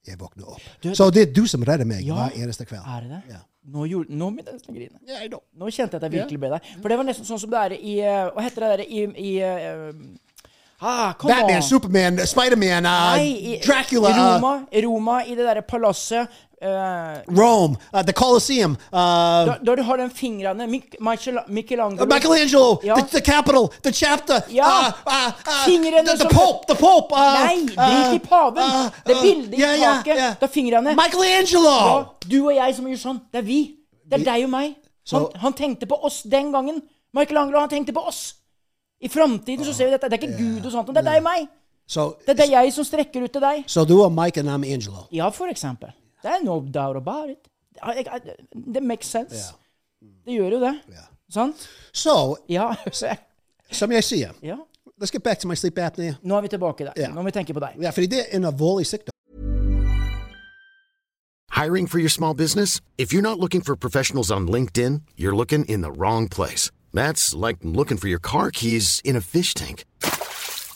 S2: jeg våkner opp.
S3: Du-
S2: så det er du som redder meg
S3: Ja.
S2: hver eneste kveld.
S3: Er det det?
S2: Ja.
S3: Nå, gjorde, nå begynte jeg nesten å grine.
S2: Ja, jeg da.
S3: Nå kjente jeg at jeg virkelig ble der. For det var nesten sånn som det er i eh, Hva heter det der i, i eh, ah, come on.
S2: Batman, Superman, Spider-Man, uh,
S3: Nei, i-
S2: Dracula,
S3: I
S2: uh,
S3: Roma, i Roma, i det derre palasset. eh,
S2: Rome, uh, the Colosseum, uh,
S3: da, da du har den fingrene Mich- Michel- Michelangelo.
S2: Michelangelo,
S3: Ja.
S2: the, the Capitol, the chapter,
S3: Ja.
S2: uh, uh, uh,
S3: Fingrene
S2: the, the
S3: som-
S2: Pope, the Pope. Uh,
S3: Nei, drit i paven! det er bildet i taket. Det er fingrene.
S2: Michelangelo!
S3: Ja, du og jeg som gjør sånn. Det er vi. Det er deg og meg. Han,
S2: Så-
S3: han tenkte på oss den gangen. Michelangelo, han tenkte på oss. I framtiden så ser vi dette. Det er ikke Gud og sånt. Det er deg og meg.
S2: Så,
S3: Det er det jeg som strekker ut til deg.
S2: så du er Mike, and I'm Angelo.
S3: Ja, for eksempel. Det er no doubt about it. I- I- Det makes sense. Det gjør jo det. Sant?
S2: So,
S3: Ja. Så jeg,
S2: som jeg sier,
S3: ja.
S2: let's get back to my sleep apnea.
S3: Nå er vi tilbake der.
S2: Ja.
S3: Nå må vi tenke på deg.
S2: Ja, fordi det er en alvorlig sykdom.
S5: Hiring for your small business? If you're not looking for professionals on LinkedIn, you're looking in the wrong place. That's like looking for your car keys in a fish tank.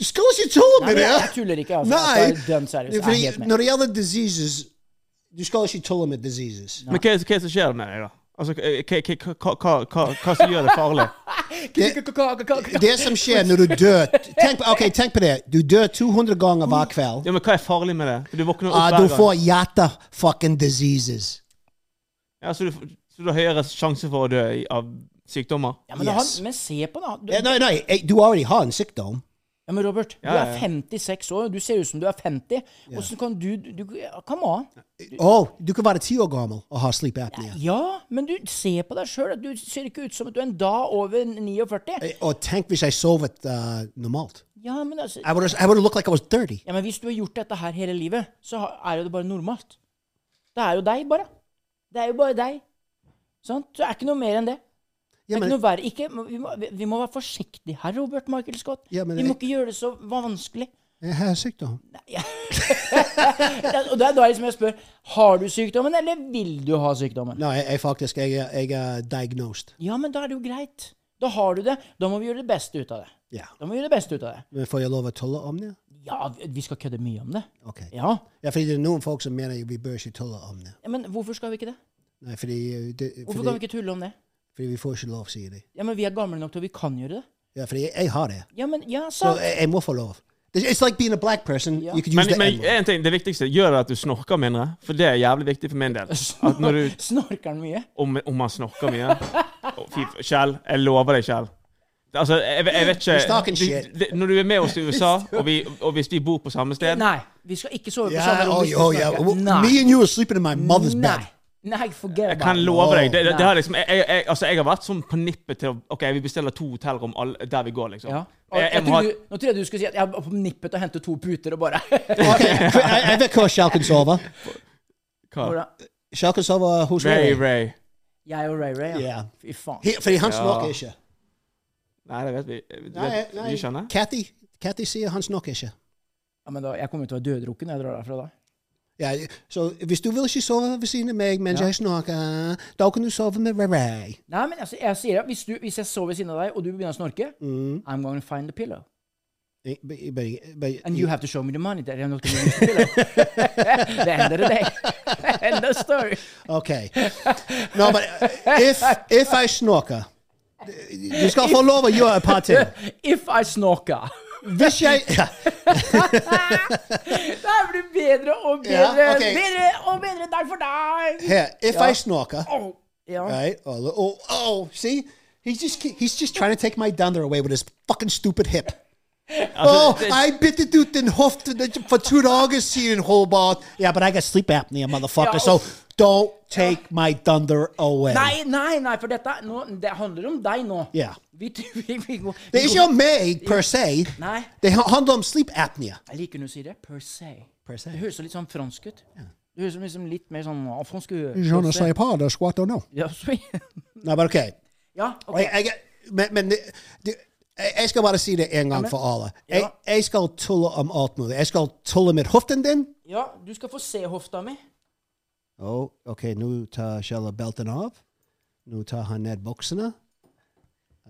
S2: du skal ikke tulle
S3: Nei,
S2: med
S3: men
S2: det!
S3: jeg, jeg tuller ikke. Altså.
S2: Nei.
S3: Jeg er dømt seriøs. Jeg er
S2: Fordi
S3: helt med.
S2: når det gjelder diseases, du skal ikke tulle med diseases.
S4: Men hva, er- hva er det som skjer med deg, da? Altså, hva, hva, hva, hva, hva, hva som gjør det farlig?
S2: Det som skjer når du dør tenk, på- Ok, tenk på det. Du dør 200 ganger hver kveld.
S4: Ja, men Hva er farlig med det? Du våkner opp
S2: Ah,
S4: hver
S2: du
S4: gang.
S2: får hjerte-fucking diseases.
S4: Ja, så, du, f- så du har høyere sjanse for å dø i- av sykdommer?
S3: Ja, men, da han,
S2: Yes.
S3: men se på den. Du,
S2: Eh, Nei, nei, eh, du already har en sykdom.
S3: ja, men Robert,
S4: Ja, ja,
S3: du
S4: ja.
S3: er 56 år. Du ser ut som du er 50. Åssen kan du, du ja, Come on.
S2: Å, du kan være ti år gammel og ha sleep apnea.
S3: Ja, men du se på deg sjøl. Du ser ikke ut som at du er en dag over 49.
S2: Eh, Og tenk hvis jeg sovet eh, normalt.
S3: Ja, men altså
S2: I would, I would look like I was 30.
S3: Ja, men hvis du har gjort dette her hele livet, så ha- er jo det bare normalt. Det er jo deg, bare. Det er jo bare deg. Sant? Så det er ikke noe mer enn det. Det
S2: Ja,
S3: er
S2: men-
S3: ikke noe verre. Ikke, vi, må, vi- vi må være forsiktige her, Robert Michael Scott.
S2: Ja, men
S3: vi
S2: det-
S3: må ikke gjøre det så vanskelig.
S2: Jeg har sykdom.
S3: Det er- Og det er da liksom jeg spør Har du sykdommen, eller vil du ha sykdommen?
S2: Nei, jeg, jeg faktisk jeg, er- jeg er diagnosed.
S3: Ja, men da er det jo greit. Da har du det. Da må vi gjøre det beste ut av det.
S2: Ja.
S3: Da må vi gjøre det beste ut av det.
S2: Men får jeg lov å tulle om det?
S3: Ja, vi- vi skal kødde mye om det.
S2: Ok.
S3: Ja,
S2: Ja, fordi det er noen folk som mener vi bør ikke tulle om det.
S3: Men hvorfor skal vi ikke det?
S2: Nei, fordi, eh, det,
S3: Hvorfor
S2: fordi,
S3: kan vi ikke tulle om det?
S2: fordi vi får ikke lov, sier de.
S3: Ja, men Vi er gamle nok til at vi kan gjøre det.
S2: Ja, fordi jeg, jeg har det.
S3: Ja, men ja,
S2: Så
S3: sant.
S2: jeg, jeg må få lov. It's like being a black person.
S3: Ja.
S2: You could use
S4: Men,
S2: the
S4: men
S2: N-word.
S4: en ting, det viktigste, gjør det at du snorker mindre? For det er jævlig viktig for min del. At når du,
S3: Snorker han mye?
S4: om, om man snorker mye Å, Fy f- Kjell, jeg lover deg, Kjell. Altså, jeg, jeg vet
S2: He's talking
S4: ikke du,
S2: shit.
S4: det, Når du er med oss i USA, og, vi, og hvis vi bor på samme sted
S3: Nei, vi skal ikke sove på samme
S2: Yeah,
S3: rom.
S2: oh,
S3: hvis vi
S2: oh, yeah.
S3: snakker.
S2: Well, Me
S3: Nei.
S2: and you are sleeping in my mother's bed.
S3: Nei. Nei, forget
S4: Jeg
S3: about
S4: kan
S3: it.
S4: love deg. Det, det, det
S3: Nei.
S4: har liksom, jeg, jeg, jeg, altså, jeg har vært sånn på nippet til å OK, vi bestiller to hotellrom alle- der vi går, liksom.
S3: Ja. Og
S4: Jeg,
S3: Jeg,
S4: jeg må ha
S3: trodde, nå trodde jeg du skulle si at jeg var på nippet til å hente to puter og bare
S2: Okay, jeg, jeg vet hva Shalken sover.
S4: hva?
S3: Hvordan-
S2: Shalken sover hos
S4: Ray,
S2: Ray.
S4: Ray.
S3: Jeg og Ray Ray, ja.
S2: Ja.
S3: Fy faen.
S2: He- Fordi han snorker ikke.
S4: Nei, det vet vi. Vet,
S2: Nei, nei.
S4: Vi skjønner.
S2: Kathy, Kathy sier han snakker ikke.
S3: Ja, men da, jeg kommer jo til å være døddrukken når jeg drar derfra da.
S2: Ja, så hvis du vil ikke sove ved siden av meg mens
S3: Ja.
S2: jeg snakker, da kan du sove med Ray-Ray.
S3: Nei, men altså, jeg sier at hvis, du, hvis jeg sover ved siden av deg, og du begynner å snorke,
S4: Mm.
S3: I'm going to find the pillow.
S2: Eh, but- but- but-
S3: And you have to show me the money that I'm not going to use the pillow. the end of the day. end of story.
S2: Okay. No, but uh, if, if I snorker Du skal få lov å gjøre et par ting.
S3: If I snorker.
S2: Hvis jeg ja,
S3: Det her blir bedre og
S2: Ja,
S3: bedre,
S2: ok.
S3: bedre og bedre dag for dag.
S2: Her. If
S3: Ja.
S2: I snorker
S3: Åh, ja.
S2: Right? Oh, oh, oh, see? He's just ki- he's just trying to take my dunder away with his fucking stupid hip. oh,
S4: det-
S2: I bit the dude in hoof for two dogs here in Hobart. Yeah, but I got sleep apnea, motherfucker.
S3: Yeah,
S2: so
S3: oof.
S2: don't take my dunder away.
S3: Nei, nei, nei, for dette nå, det handler om deg nå.
S2: Ja.
S3: Vi, vi, vi, går- vi,
S2: Det er ikke om meg per se.
S3: Nei.
S2: Det ha- handler om sleep apnea.
S3: Jeg liker når du sier det. Per se.
S2: Per se.
S3: Det høres jo litt sånn fransk ut. Det høres liksom litt mer sånn ah, fransk ut.
S2: pas de squat or no.
S3: Ja, så-
S2: No, but okay.
S3: ja,
S2: Og
S3: ok.
S2: Jeg, jeg, men men det, det, jeg- jeg skal bare si det en gang for alle. Jeg, jeg skal tulle om alt mulig. Jeg skal tulle med hoften din.
S3: ja, du skal få se hofta mi.
S2: Oh, ok, nå tar Shella belten av. Nå tar han ned buksene.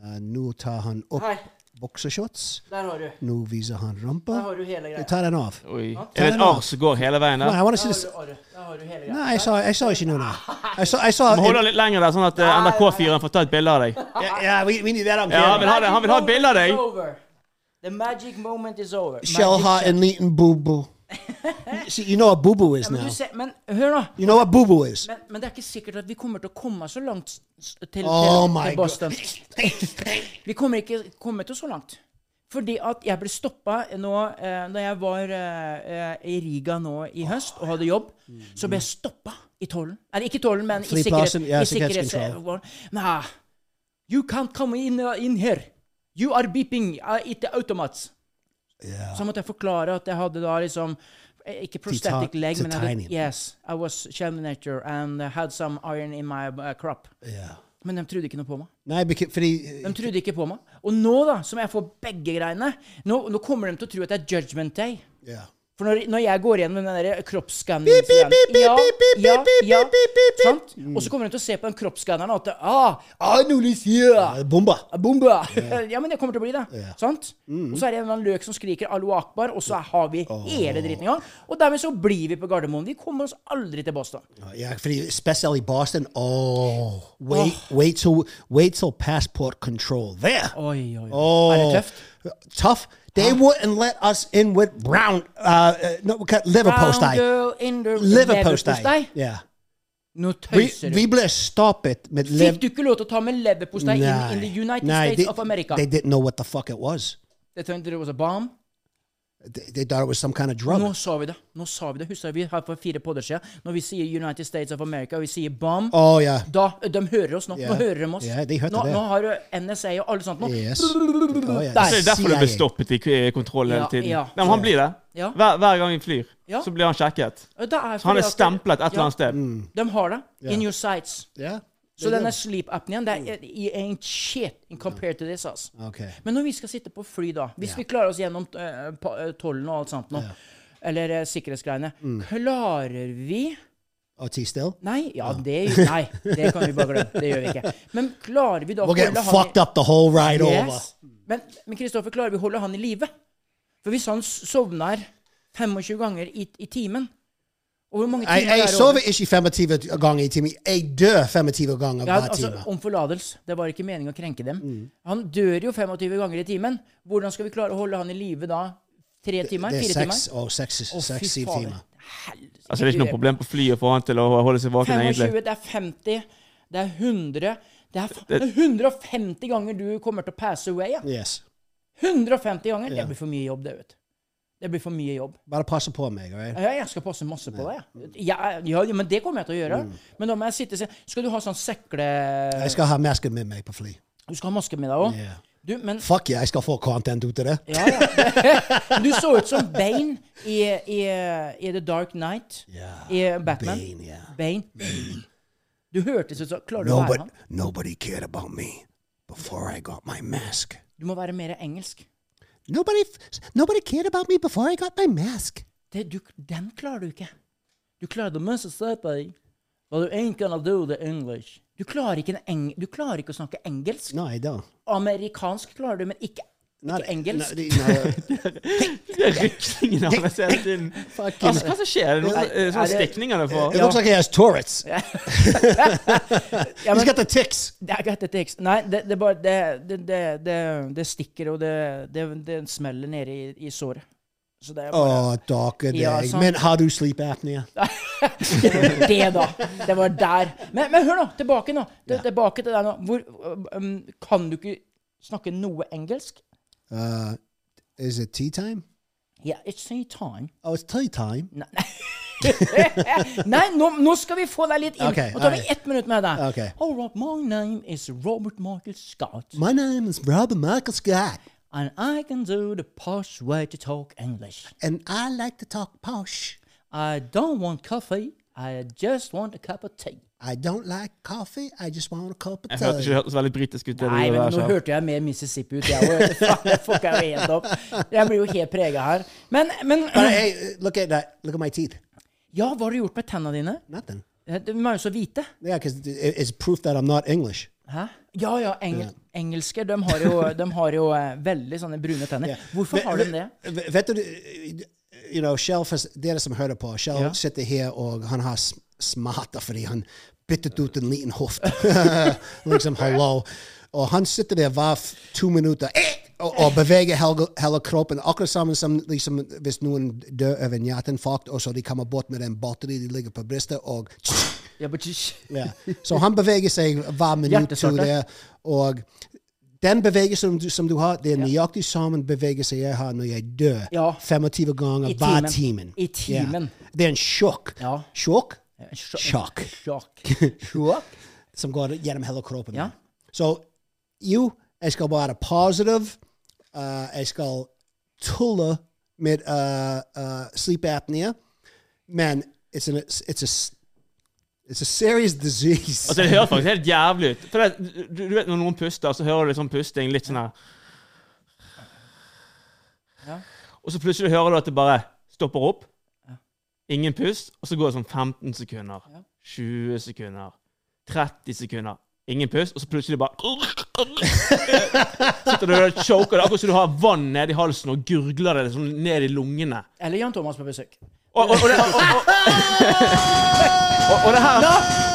S2: Eh, nå tar han opp
S3: Her.
S2: bukseshorts.
S3: Der har du.
S2: Nå viser han
S3: Der
S2: rumpa.
S3: har du hele
S2: Jeg
S3: greia.
S2: tar den av.
S4: Oi.
S3: Ja.
S4: Er det et arr som går hele veien
S2: Nei,
S4: der?
S2: jeg vil
S3: Der
S2: si
S3: har
S2: det. s-
S3: du, arret. der har du hele greia.
S2: Nei, jeg sa, jeg sa ikke noe der. Jeg sa, jeg sa
S4: Vi holder litt lenger der, sånn at eh, NRK-fyren får ta et bilde av deg.
S2: Ja, ja, we, we need that on
S4: Ja,
S2: camera.
S4: men ha det. Han vil ha et bilde av deg.
S3: Magic moment is over. The magic moment is over.
S2: Shell
S3: Magic-
S2: hot and neat and boo-boo. See, you know what boo-boo is
S3: Ja, men,
S2: now.
S3: du ser, men hør, da.
S2: You know what boo-boo is.
S3: Men, men det er ikke sikkert at vi kommer til å komme så langt s- s- til, til,
S2: Oh my
S3: til Boston.
S2: god.
S3: Vi kommer ikke komme til så langt. Fordi at jeg ble stoppa nå eh, da jeg var eh, eh, i Riga nå i
S2: Ah,
S3: høst og hadde jobb. Så ble jeg stoppa i tollen. Eller ikke i tollen, men i
S2: mm. Flyplassen,
S3: sikkerhet.
S2: ja,
S3: i sikkerhets-
S2: sikkerhetskontroll.
S3: Nei, you can't come in, uh, in here. You are beeping uh, it the automats. Så måtte jeg forklare at jeg hadde da liksom eh, ikke prosthetic
S2: Titan-
S3: leg, men jeg hadde,
S2: titanium.
S3: yes, I was shell nature and had some iron in my uh, crop.
S2: Yeah.
S3: Men de trodde ikke noe på meg.
S2: Nei, beca- fordi
S3: De trodde ikke på meg. Og nå, da, som jeg får begge greiene, nå, nå kommer de til å tro at det er judgment day.
S2: Ja.
S3: For når, når jeg går igjen med den der kroppsskanningen
S2: Beep, beep, beep, beep,
S3: Ja,
S2: beep, beep,
S3: ja,
S2: beep,
S3: ja,
S2: beep, beep, beep, beep.
S3: sant? Og så kommer de til å se på den kroppsskanneren og at det, ah, Anolicia!
S2: Eh, Bomba.
S3: Bombe! Ja, men det kommer til å bli det. Sant?
S2: Mm.
S3: Og så er det en eller annen løk som skriker 'Allo akbar', og så har vi hele dritten i gang. Og dermed så blir vi på Gardermoen. Vi kommer oss aldri til Boston.
S2: Ja, fordi spesielt i Boston Oh, wait, wait, till, wait till passport control there.
S3: Oi, oi, oi.
S2: Oh,
S3: Er det tøft?
S2: Tough. They wouldn't let us in with brown, uh, uh, no, we got liver
S3: Brown
S2: postei.
S3: girl in the-
S2: Liver postei.
S3: leverpostei.
S2: Yeah.
S3: Nå
S2: Vi,
S3: tøyser du.
S2: vi ble stoppet med
S3: Fikk
S2: liv...
S3: du ikke lov til å ta med leverpostei inn
S2: Nei.
S3: in the United
S2: Nei,
S3: States
S2: they-
S3: of America?
S2: They didn't know what the fuck it was.
S3: They thought it was a bomb.
S2: They, they thought it was some kind of drug.
S3: Nå sa vi det. Nå sa vi det. Husker vi her for fire podder siden, når vi sier United States of America, og vi sier bomb,
S2: Oh, yeah.
S3: da De hører oss nå.
S2: Ja.
S3: Nå hører de oss.
S2: Ja, de hørte
S3: nå,
S2: det.
S3: nå har eh, NSA og alle sånt nå.
S2: Yes. Oh, yeah.
S3: Nei.
S4: Så det er derfor du blir
S2: CIA.
S4: stoppet i k- kontroll hele
S3: Ja,
S4: tiden.
S3: ja.
S4: Nei, men han blir det.
S3: Ja.
S4: Hver, hver gang vi flyr,
S3: Ja.
S4: så blir han sjekket.
S3: Og det er
S4: Så han
S3: fordi
S4: er
S3: at-
S4: stemplet et
S3: Ja, Mm.
S4: eller annet sted.
S3: De har det.
S2: Ja.
S3: In your sights.
S2: Yeah.
S3: Så
S2: They
S3: denne
S2: do.
S3: sleep-apneen, det
S2: Mm.
S3: er it ain't shit in compared to this, ass.
S2: Okay.
S3: Men når vi skal sitte på fly, da Hvis vi klarer oss gjennom eh, pa- eh, tollen og alt sånt nå, eller eh, sikkerhetsgreiene,
S2: Mm.
S3: klarer vi
S2: Oh, T still?
S3: Nei, ja, det, nei, det kan vi bare glemme. Det gjør vi ikke. Men klarer vi da å
S2: We're getting
S3: holde han i-
S2: fucked up the whole ride over.
S3: Yes. Men men Kristoffer, klarer vi å holde han i live? For hvis han s- sovner 25 ganger i, i timen og Hvor mange
S2: Jeg,
S3: timer
S2: jeg
S3: er det
S2: sover
S3: over?
S2: ikke 25 ganger i timen. Jeg dør 25 ganger
S3: Ja,
S2: hver
S3: altså,
S2: time. Mm.
S3: om forlatelse. Det var ikke meningen å krenke dem. Han dør jo 25 ganger i timen. Hvordan skal vi klare å holde han i live da? Tre timer?
S2: Det er
S3: Fire
S2: seks,
S3: timer?
S2: og seks,
S3: Å, fy
S2: seks syv
S3: fader.
S2: timer.
S3: Helsike.
S4: Altså, det er ikke noe problem på flyet å få han til å holde seg våken, egentlig.
S3: 25, det er 50, det er 100 Det er, fa- det er 150 ganger du kommer til å pass away. Ja.
S2: Yes.
S3: 150 ganger! Det blir for mye jobb, det, vet du. Det blir for mye jobb.
S2: Bare passe på meg. all Right?
S3: Ja, jeg skal passe masse på deg. Ja, ja, ja, men det kommer jeg til å gjøre. Men da må jeg sitte og se Skal du ha sånn sekle...
S2: Mm. Jeg skal ha masken med meg på fly.
S3: Du skal ha maske med deg òg?
S2: Ja.
S3: Du, men
S2: Fuck yeah, jeg skal få content ut av det.
S3: Ja, ja. Du så ut som Bane i, i, i The Dark Knight. I Batman.
S2: Bane, ja.
S3: Bane. Du hørtes ut som Klarer du å være
S2: Nobody,
S3: han?
S2: nobody cared about me, before I got my mask.
S3: Du må være mer engelsk.
S2: Nobody, f- nobody cared about me before I got my mask.
S3: Det, du, den klarer du ikke. Du klarer det meste stedet, but you ain't gonna do the English. Du klarer ikke, en eng, du klarer ikke å snakke engelsk.
S2: No, I don't.
S3: Amerikansk klarer du, men ikke,
S2: Not
S3: ikke engelsk.
S2: No, no,
S4: Det er ryklingen hans hele tiden.
S2: fucking.
S4: Altså, hva som skjer? Er det noen eh, sånne
S3: Er det-
S4: stikninger du
S2: It
S4: får?
S2: looks like he has Tourette's.
S3: Ja,
S2: He's
S3: men-
S2: got the ticks.
S3: Det er ikke dette tekst. Nei, det, det, er bare, det, det, det, det, det stikker, og det, det, det smeller nede i, i såret. Så det er bare
S2: Oh, darker day.
S3: Yeah, some-
S2: Man, how do sleep apnea?
S3: Det var det, da. Det var der. Men, men hør nå, tilbake nå. Til-
S2: Ja.
S3: Tilbake til deg nå. Hvor, um, kan du ikke snakke noe engelsk?
S2: Uh, is it tea time?
S3: Yeah, it's any time.
S2: Oh, it's tea time.
S3: Nei, Nei nå, nå skal vi få deg litt inn.
S2: Ok,
S3: nå tar vi
S2: alright.
S3: ett minutt med deg.
S2: Ok.
S3: All right, my name is Robert Michael Scott.
S2: My name is Robert Michael Scott,
S3: And I can do the posh way to talk English.
S2: and I like to talk posh.
S3: I don't want coffee. I just want a cup of tea.
S2: I don't like coffee. I just want a cup of
S4: Jeg hørte ikke
S2: tea.
S4: det hørtes veldig britisk ut. det
S3: Nei, men
S4: du gjorde
S3: nå
S2: altså.
S4: der, sjef.
S3: hørte jeg mer Mississippi ut. Jeg, og- fuck, jeg fucka jo helt opp. Jeg blir jo helt prega her. Men, men
S2: But hey, look at that. Look at my teeth.
S3: Ja, hva har du gjort med tenna dine?
S2: Nothing.
S3: Eh, De er jo så hvite.
S2: Yeah, because it's proof that I'm not English.
S3: Hæ? Ja, ja. Engel, Engelske de har, jo, de har jo eh, veldig sånne brune tenner.
S2: Yeah.
S3: Hvorfor
S2: Ve-
S3: har de det?
S2: ve- Vet du, eh, you know, Kjell, fas- det er det som jeg hørte på. Kjell
S3: Ja.
S2: sitter her, og han har sm- smerter fordi han byttet ut en liten hofte. liksom, hallo. Og han sitter der hver f- to minutter eh, og, og beveger hele, hele kroppen. Akkurat sammen som liksom, hvis noen dør av en hjerteinfarkt, og så de kommer bort med den batteri de ligger på brystet, og
S3: Ja, but sh-
S2: ja. Så han beveger seg hver minutt
S3: Hjertestarter.
S2: til det. Og den bevegelsen som du, som du har, det er nøyaktig samme bevegelse jeg har når jeg dør.
S3: Ja.
S2: 25 ganger
S3: I
S2: hver
S3: timen.
S2: timen.
S3: I timen.
S2: Ja. Det er en sjokk.
S3: Ja.
S2: Sjokk
S3: eh, sj-
S2: Sjokk.
S3: Sjokk. Sjokk?
S2: som går gjennom hele kroppen.
S3: Ja.
S2: Så jo, jeg skal være positive. Uh, jeg skal tulle med uh, uh, sleep apnea. Men it's, an, it's, a, s- it's a serious disease.
S4: Altså, Det høres faktisk helt jævlig ut. For det, du, du vet Når noen puster, så hører du litt sånn pusting litt sånn her.
S3: Ja.
S4: Og så plutselig hører du at det bare stopper opp. Ingen pust. Og så går det sånn 15 sekunder. 20 sekunder. 30 sekunder. Ingen pust, og så plutselig bare Sitter du der og choker. Det er akkurat som du har vann ned i halsen og gurgler det sånn ned i lungene.
S3: Eller Jan Thomas på besøk.
S4: Og, og, og, det, og, og, og, og det her
S3: No,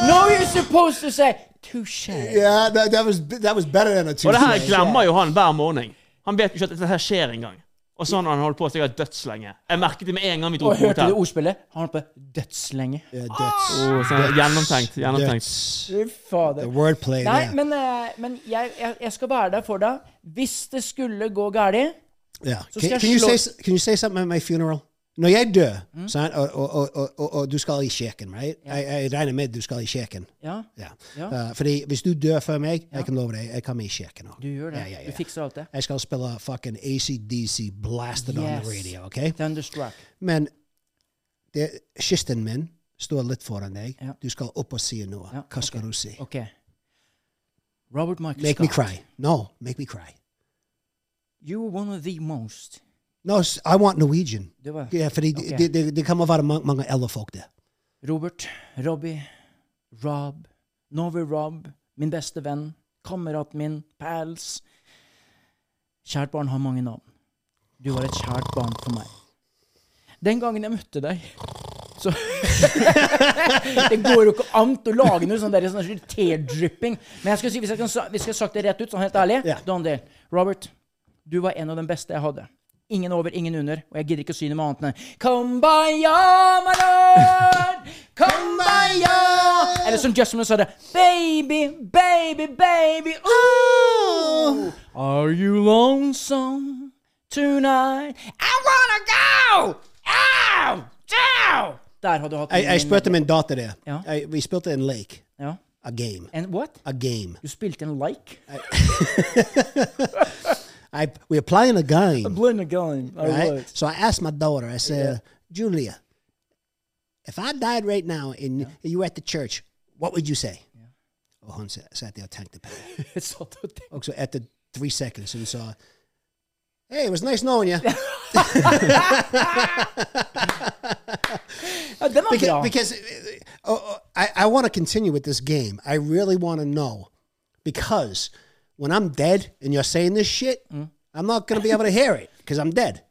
S3: no you're supposed to say touché.
S2: Yeah, that, that was that was better than a Tuesday.
S4: Og det her glemmer jo han hver morgen. Han vet jo ikke at dette her skjer engang. Og sånn har han holdt på sikkert dødslenge. Jeg merket det med en gang vi dro
S3: Og
S4: på
S3: hørte
S4: hotell.
S3: du ordspillet? Han holdt på dødslenge.
S2: Yeah, that's,
S4: Oh, sånn, gjennomtenkt. gjennomtenkt.
S2: that's
S3: Fy fader.
S2: the wordplay.
S3: Nei,
S2: there.
S3: men, eh, men jeg, jeg, jeg skal være der for deg. Hvis det skulle gå galt
S2: yeah.
S3: så skal
S2: Can,
S3: jeg
S2: can you
S3: slå-
S2: say s- can you say something at my funeral? Når jeg dør, sant, og, og, og, og, og, og du skal i kirken, right? Jeg, jeg regner med du skal i kirken.
S3: Ja,
S2: Ja.
S3: Ja.
S2: Uh, fordi hvis du dør før meg, jeg kan love deg, jeg kommer i kirken. også.
S3: du gjør det.
S2: Ja, ja, ja.
S3: Du fikser alt det.
S2: Jeg skal spille fucking ACDC blasted on the
S3: Yes.
S2: radio, ok?
S3: Thunderstruck.
S2: Men det, kisten min står litt foran deg.
S3: Ja.
S2: Du skal opp og si noe.
S3: Ja,
S2: Hva skal du si?
S3: Ok. Robert Michael
S2: Make
S3: Scott.
S2: me cry. No, make me cry.
S3: You were one of the most.
S2: No, s- I want Norwegian.
S3: Det var
S2: Ja, fordi
S3: Ok.
S2: det, det, det kommer være mange, mange eldre folk der.
S3: Robert, Robbie, Rob, Norway Rob, min beste venn, kameraten min, pals. Kjært barn har mange navn. Du var et kjært barn for meg. Den gangen jeg møtte deg, så Det går jo ikke an å lage noe sånn der- sånn der teardrypping. Men jeg skal si, hvis jeg, kan, sa- hvis jeg har sagt det rett ut, sånn helt ærlig
S2: Ja.
S3: Don Dale, Robert, du var en av de beste jeg hadde. Ingen over, ingen under. Og jeg gidder ikke å si noe annet enn Kumbaya, my lord! Kumbaya! Eller som Justin Bieber sa det Baby, baby, baby, ooh!
S2: Oh.
S3: Are you lonesome tonight? I wanna go! Ow! Ow! Der har du hatt
S2: Jeg, jeg spurte min datter der.
S3: Ja.
S2: Jeg, vi spilte en lek.
S3: Ja.
S2: A game.
S3: And what?
S2: A game.
S3: Du spilte en like?
S2: I, we're playing a game,
S3: Blend a gun. I
S2: right?
S3: was.
S2: So I asked my daughter, I said, Julia, if I died right now and you were at the church, what would you say? Og han sa- satt der og tenkte på det.
S3: Jeg satt og tenkte
S2: Og så etter three seconds så sa Hey, it was nice knowing you.
S3: ja, Den var bra.
S2: because, because uh, oh, I, I want to continue with this game. I really want to know because when I'm dead and you're saying this shit,
S3: Mm.
S2: I'm not going to be able to hear it because I'm dead.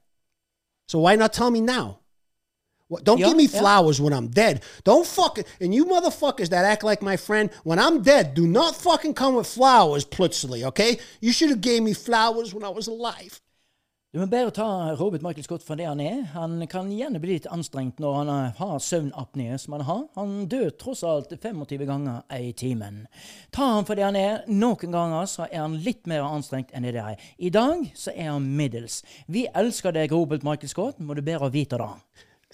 S2: So why not tell me now? What, don't
S3: Yeah,
S2: give me
S3: yeah.
S2: flowers when I'm dead. Don't fucking and you motherfuckers that act like my friend when I'm dead. Do not fucking come with flowers, plutsely. Okay? You should have gave me flowers when I was alive.
S3: Du må bare ta Robert Michael Scott for det han er. Han kan gjerne bli litt anstrengt når han eh, har søvnapné, som han har. Han dør tross alt 25 ganger i timen. Ta han for det han er. Noen ganger så er han litt mer anstrengt enn det det er. I dag så er han middels. Vi elsker deg, Robert Michael Scott. Må du bare vite det.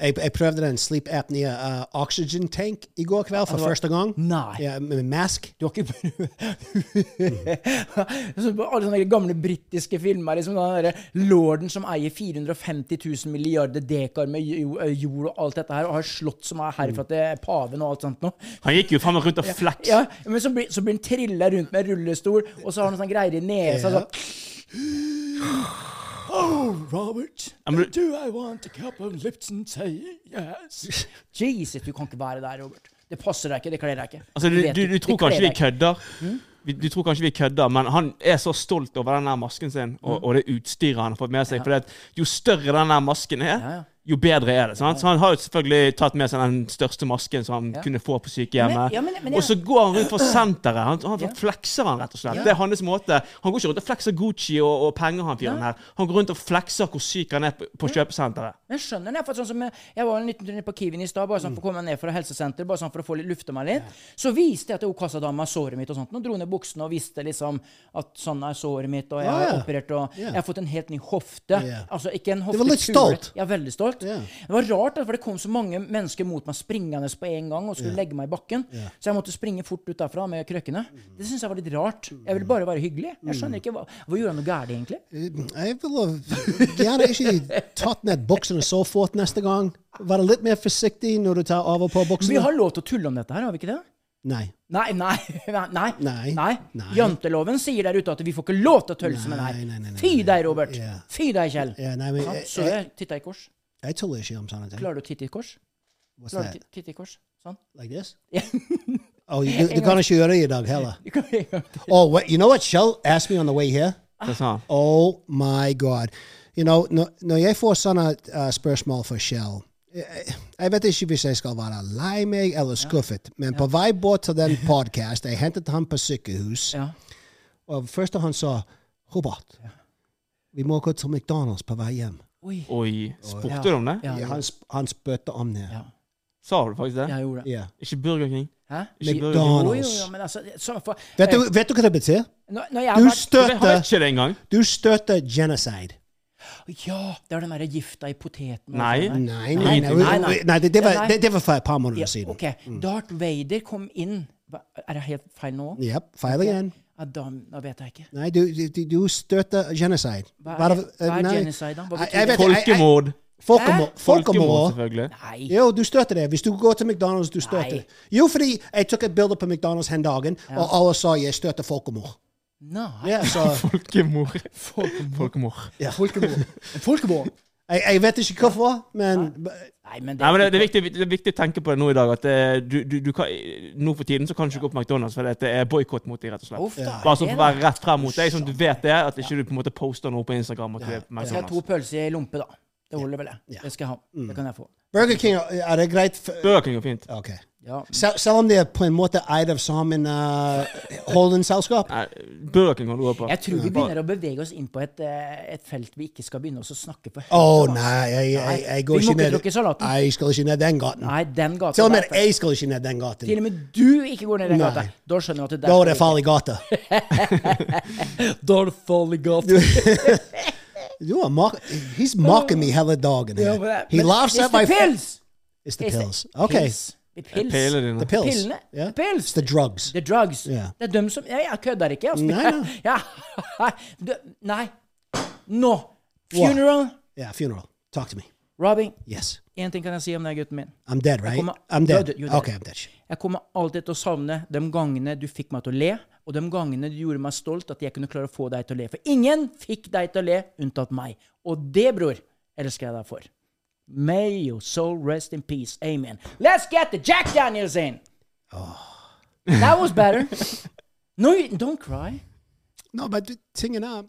S2: Jeg, jeg prøvde den er, sleep apnea uh, oxygen tank i går kveld for
S3: det var-
S2: første gang.
S3: Nei.
S2: Ja, med mask.
S3: Du har ikke Så på Alle sånne gamle britiske filmer. Liksom den derre lorden som eier 450 000 milliarder dekar med jo- jord og alt dette her, og har slott som er herfra til paven og alt sånt noe.
S4: Han gikk jo faen meg rundt og flaks.
S3: Ja, men så blir, så blir han trilla rundt med rullestol, og så har han sånn greier i nesa.
S2: Ja.
S3: Sånn. Oh, Robert,
S4: Ja, men du-
S3: do I want a cup of Lipton tea? Yes. Jesus, du kan ikke være der, Robert. Det passer deg ikke, det kler deg ikke.
S4: Altså, du,
S3: vet
S4: du, du
S3: det Mm.
S4: tror
S3: kler
S4: kanskje vi
S3: deg ikke.
S4: kødder, Vi- Du tror kanskje vi kødder, men han er så stolt over den der masken sin
S3: Mm.
S4: og, og det utstyret han har fått med seg. fordi at jo større den der masken
S3: ja.
S4: er, jo bedre er det. Sant? Så han har jo selvfølgelig tatt med seg den største masken som han kunne få på
S3: Men-
S4: sykehjemmet.
S3: ja, men- men jeg-
S4: Og så går han rundt for senteret. Han, han flekser han, rett og slett. Det er hans måte. Han går ikke rundt og flekser Gucci og, og penger, han fyren her. Han går rundt og flekser hvor syk han er på,
S3: Mm.
S4: på kjøpesenteret.
S3: Jeg skjønner det. for sånn som jeg, jeg var en liten tur ned på Kiwien i stad, bare sånn for å komme ned fra helsesenteret, bare sånn for å få litt, lufte meg litt. Så viste jeg til hun kassadama såret mitt og sånt, og dro ned buksene og viste liksom at sånn er såret mitt, og jeg har
S2: Ah, ja.
S3: operert, og
S2: Ja.
S3: jeg har fått en helt ny hofte.
S2: Ja.
S3: Altså ikke en
S2: var
S3: hoftekule.
S2: litt stolt.
S3: Ja, veldig stolt.
S2: Ja.
S3: Det var rart, da, for det kom så mange mennesker mot meg springende på en gang og skulle legge meg i bakken, så jeg måtte springe fort ut derfra med krøkkene.
S2: Mm.
S3: Det syns jeg var litt rart. Jeg ville bare være hyggelig. Jeg skjønner ikke hva, hva gjorde jeg noe gærent, egentlig?
S2: Øh, Jeg ville gjerne er ikke tatt ned buksene og så forth neste gang. Være litt mer forsiktig når du tar av og på buksene.
S3: Vi har lov til å tulle om dette her, har vi ikke det?
S2: Nei.
S3: Nei, nei, nei, nei.
S2: Nei.
S3: nei.
S2: Nei.
S3: Janteloven sier der ute at vi får ikke lov til å tølle med
S2: Nei, nei, nei,
S3: deg.
S2: nei,
S3: Fy
S2: nei.
S3: deg, Robert.
S2: Ja.
S3: Fy deg, Kjell.
S2: Ja, eh, nei, men
S3: Ja,
S2: jeg,
S3: så
S2: jeg,
S3: jeg titta i kors.
S2: jeg tuller ikke om sånne ting.
S3: Klarer du å titte i kors?
S2: What's
S3: Klarer du
S2: that?
S3: å ti- titte i kors? Sånn.
S2: Like this?
S3: Ja.
S2: Oh, you, du kan ikke gjøre det i dag heller.
S3: Du kan-
S2: Oh, what, you know what Shell asked me on the way here?
S4: Det sånn,
S3: Ah.
S4: sa han.
S2: Oh my God. You know, når, når jeg får sånne uh, spørsmål fra Shell jeg, jeg vet ikke hvis jeg skal være lei meg eller skuffet, men på vei bort til den podkast Jeg hentet ham på sykehus,
S3: Ja.
S2: og først han sa Robert, vi må gå til McDonald's på vei hjem.
S3: Oi.
S4: Oi. Spurte
S3: Ja.
S4: du om det?
S3: Ja,
S2: Han, sp- han spurte om det.
S3: Ja.
S4: Sa du faktisk det?
S3: jeg gjorde det.
S2: Ja.
S4: Ikke Burger King?
S3: Hæ?
S4: Ikke Burger King.
S2: McDonald's.
S3: Jo, jo, jo, men altså, så, for, Eh,
S2: Vet, du, vet du hva det betyr?
S3: når, når jeg har vært,
S2: Du
S4: Jeg har
S2: støtter,
S4: ikke det engang.
S2: du støtter genocide.
S3: Ja, det er den derre gifta i poteten. og
S4: Nei.
S3: sånn der.
S2: Nei, nei, nei.
S3: Nei, nei.
S2: nei det, det,
S3: Ja,
S2: var,
S3: nei.
S2: det, det var for et par måneder
S3: Ja,
S2: siden.
S3: OK. Darth Vader kom inn. Hva- Er det helt feil nå?
S2: Yep, feil igjen.
S3: Ja, da, da vet jeg ikke.
S2: Nei, du, du, du støtter genocide.
S3: Hva er-
S2: Bare-
S3: hva er
S2: nei.
S3: genocide, da? Hva
S2: Jeg-
S3: betyr
S2: jeg
S3: det?
S2: vet-
S4: Folkemord.
S2: Folkemord.
S4: Folkemord,
S2: Folkemord.
S4: selvfølgelig.
S3: Nei.
S2: Jo, du støtter det. Hvis du går til McDonald's, du
S3: Nei.
S2: støtter det. Jo, fordi jeg tok et bilde på McDonald's den dagen, og alle sa jeg støtter folkemord.
S3: Nei.
S2: Ja, så
S4: Folkemord. Folkemord.
S2: ja.
S3: Folkemord.
S2: jeg, jeg vet ikke hvorfor, men
S3: Nei, men det,
S4: Nei, men det, det, er viktig, det er viktig å tenke på det nå i dag. at eh, du, du, du kan, Nå for tiden så kan du ikke gå på McDonald's fordi at det er boikott mot dem, rett og slett.
S3: Uff da,
S4: Bare sånn
S3: det
S4: for
S3: da.
S4: å være rett frem mot deg, sånn at du vet det. At ikke du på en måte poster noe på Instagram at du er på
S3: Jeg skal ha to
S4: McDonald's.
S3: pølser i lompe, da. Det holder vel, det.
S2: Ja. Mm.
S3: Det skal jeg ha. Det kan jeg få.
S2: Burger King, er det greit? for-
S4: Burger King går fint.
S2: Ok.
S3: Ja.
S2: Sel selv om det er på en måte eid av sammen uh, holdingselskap?
S4: Nei, Burger King går du over på.
S3: Jeg tror vi begynner å bevege oss inn på et, eh, et felt vi ikke skal begynne oss å snakke for høyt.
S2: Å
S3: om, altså.
S2: nei, jeg, jeg, jeg går
S3: vi må
S2: ikke
S3: ikke
S2: ned
S3: drukke salaten.
S2: Nei, Jeg skal ikke ned den gaten.
S3: Nei, den gata
S2: Til og med
S3: der,
S2: jeg skal ikke ned den
S3: Til
S2: gaten.
S3: og med du ikke går ned i den gata.
S2: Nei.
S3: Da skjønner jeg at det
S2: Da er det farlig gate.
S3: Da er det farlig gate.
S2: You are mock- he's mocking me hella dogging
S3: Ja,
S2: here.
S3: men det-
S2: He
S3: men
S2: laughs
S3: it's
S2: at
S3: the
S2: my
S3: pills.
S2: It's the
S3: It's the
S2: pills. Okay.
S3: Pills. The pills.
S2: The
S4: Pilene dine.
S2: pills.
S3: Pillene.
S2: Yeah.
S3: The pills.
S2: It's the drugs.
S3: The drugs.
S2: Ja.
S3: Det er dem som Jeg, jeg kødder ikke. Altså.
S2: Nei, nei.
S3: Ja. Du- Nei. Nå. Funeral.
S2: Yeah, funeral. Talk to me.
S3: Robbie.
S2: Yes.
S3: Én ting kan jeg si om den gutten min.
S2: I'm dead, right?
S3: kommer-
S2: I'm
S3: You're
S2: dead.
S3: dead, you're dead.
S2: Okay, I'm dead.
S3: Jeg kommer alltid til å savne de gangene du fikk meg til å le, og de gangene du gjorde meg stolt at jeg kunne klare å få deg til å le. For ingen fikk deg til å le unntatt meg. Og det, bror, elsker jeg deg for. May your soul rest in peace. Amen. Let's get the Jack Daniels in! That was better. No, you- don't cry.
S2: No, but the thing is, uh,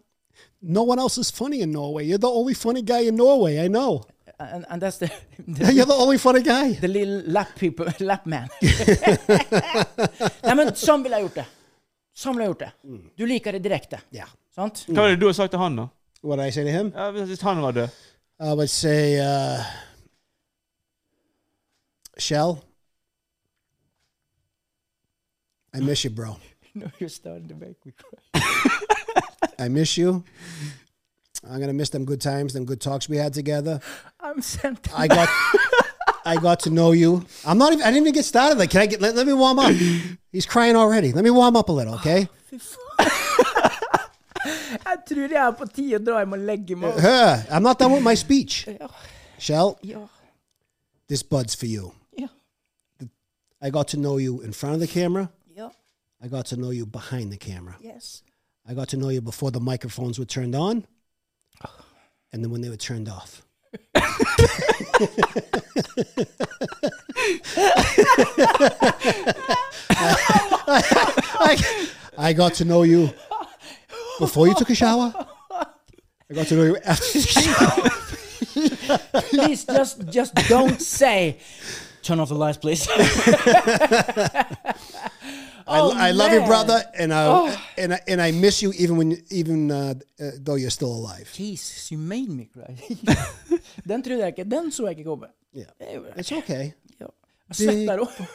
S2: no one else is funny in Norway. You're the only funny guy in Norway. I know.
S3: And, and that's the,
S2: You're
S3: the,
S2: the only funny guy.
S3: the little lap people, lap man. Nei, men sånn ville jeg gjort det. Sånn ville jeg gjort det. Du liker det direkte.
S2: Yeah.
S3: Sant?
S4: Hva var det du har sagt til han, da?
S2: What did I say to him?
S4: Ja, hvis han var død?
S2: I would say, uh, Shell, I miss you, bro.
S3: No, you're starting to make me cry.
S2: I miss you. I'm gonna miss them good times, them good talks we had together.
S3: I'm sent.
S2: I got, I got to know you. I'm not even. I didn't even get started. Like, can I get? Let, let me warm up. He's crying already. Let me warm up a little, okay?
S3: Jeg tror jeg er på tide å dra hjem og legge meg.
S2: Huh, I'm not done with my speech. Shell,
S3: Ja,
S2: this bud's for you.
S3: ja,
S2: I got to know you in front of the camera.
S3: ja.
S2: I got to know you behind the camera.
S3: Yes.
S2: I got to know you before the microphones were turned on, and then when they were turned off. I, I got to know you before you took a shower. I got to know you after.
S3: Please, just, just don't say Turn off the lights, please.
S2: I,
S3: Oh,
S2: I love you,
S3: man. Oh.
S2: brother, and I and I, and I miss you even when even uh, uh, though you're still alive.
S3: Jesus, you made me cry. den trodde jeg ikke. Den så jeg ikke komme.
S2: Yeah,
S3: Det var-
S2: it's okay.
S3: Ja. Jeg svetter òg. er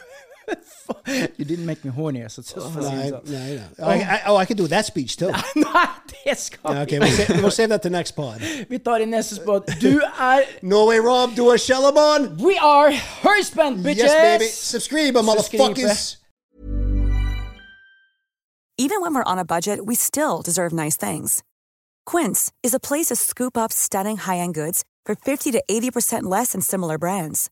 S3: You didn't make me horny. Så så-
S2: No, I, no,
S3: så-
S2: I know. Oh, I, I- oh, I could do that speech too.
S3: Nei, det skal vi
S2: Okay,
S3: ikke.
S2: we'll save, we'll save that to next pod.
S3: Vi tar i neste spot. Du er
S2: Norway Rob, do a Shellamon.
S3: We are Hurstband, bitches!
S2: Yes, baby. Subscribe,
S3: Subscribe.
S2: motherfuckers.
S6: Even when we're on a budget, we still deserve nice things. Quince is a place to scoop up stunning high-end goods for 50 to 80% less than similar brands.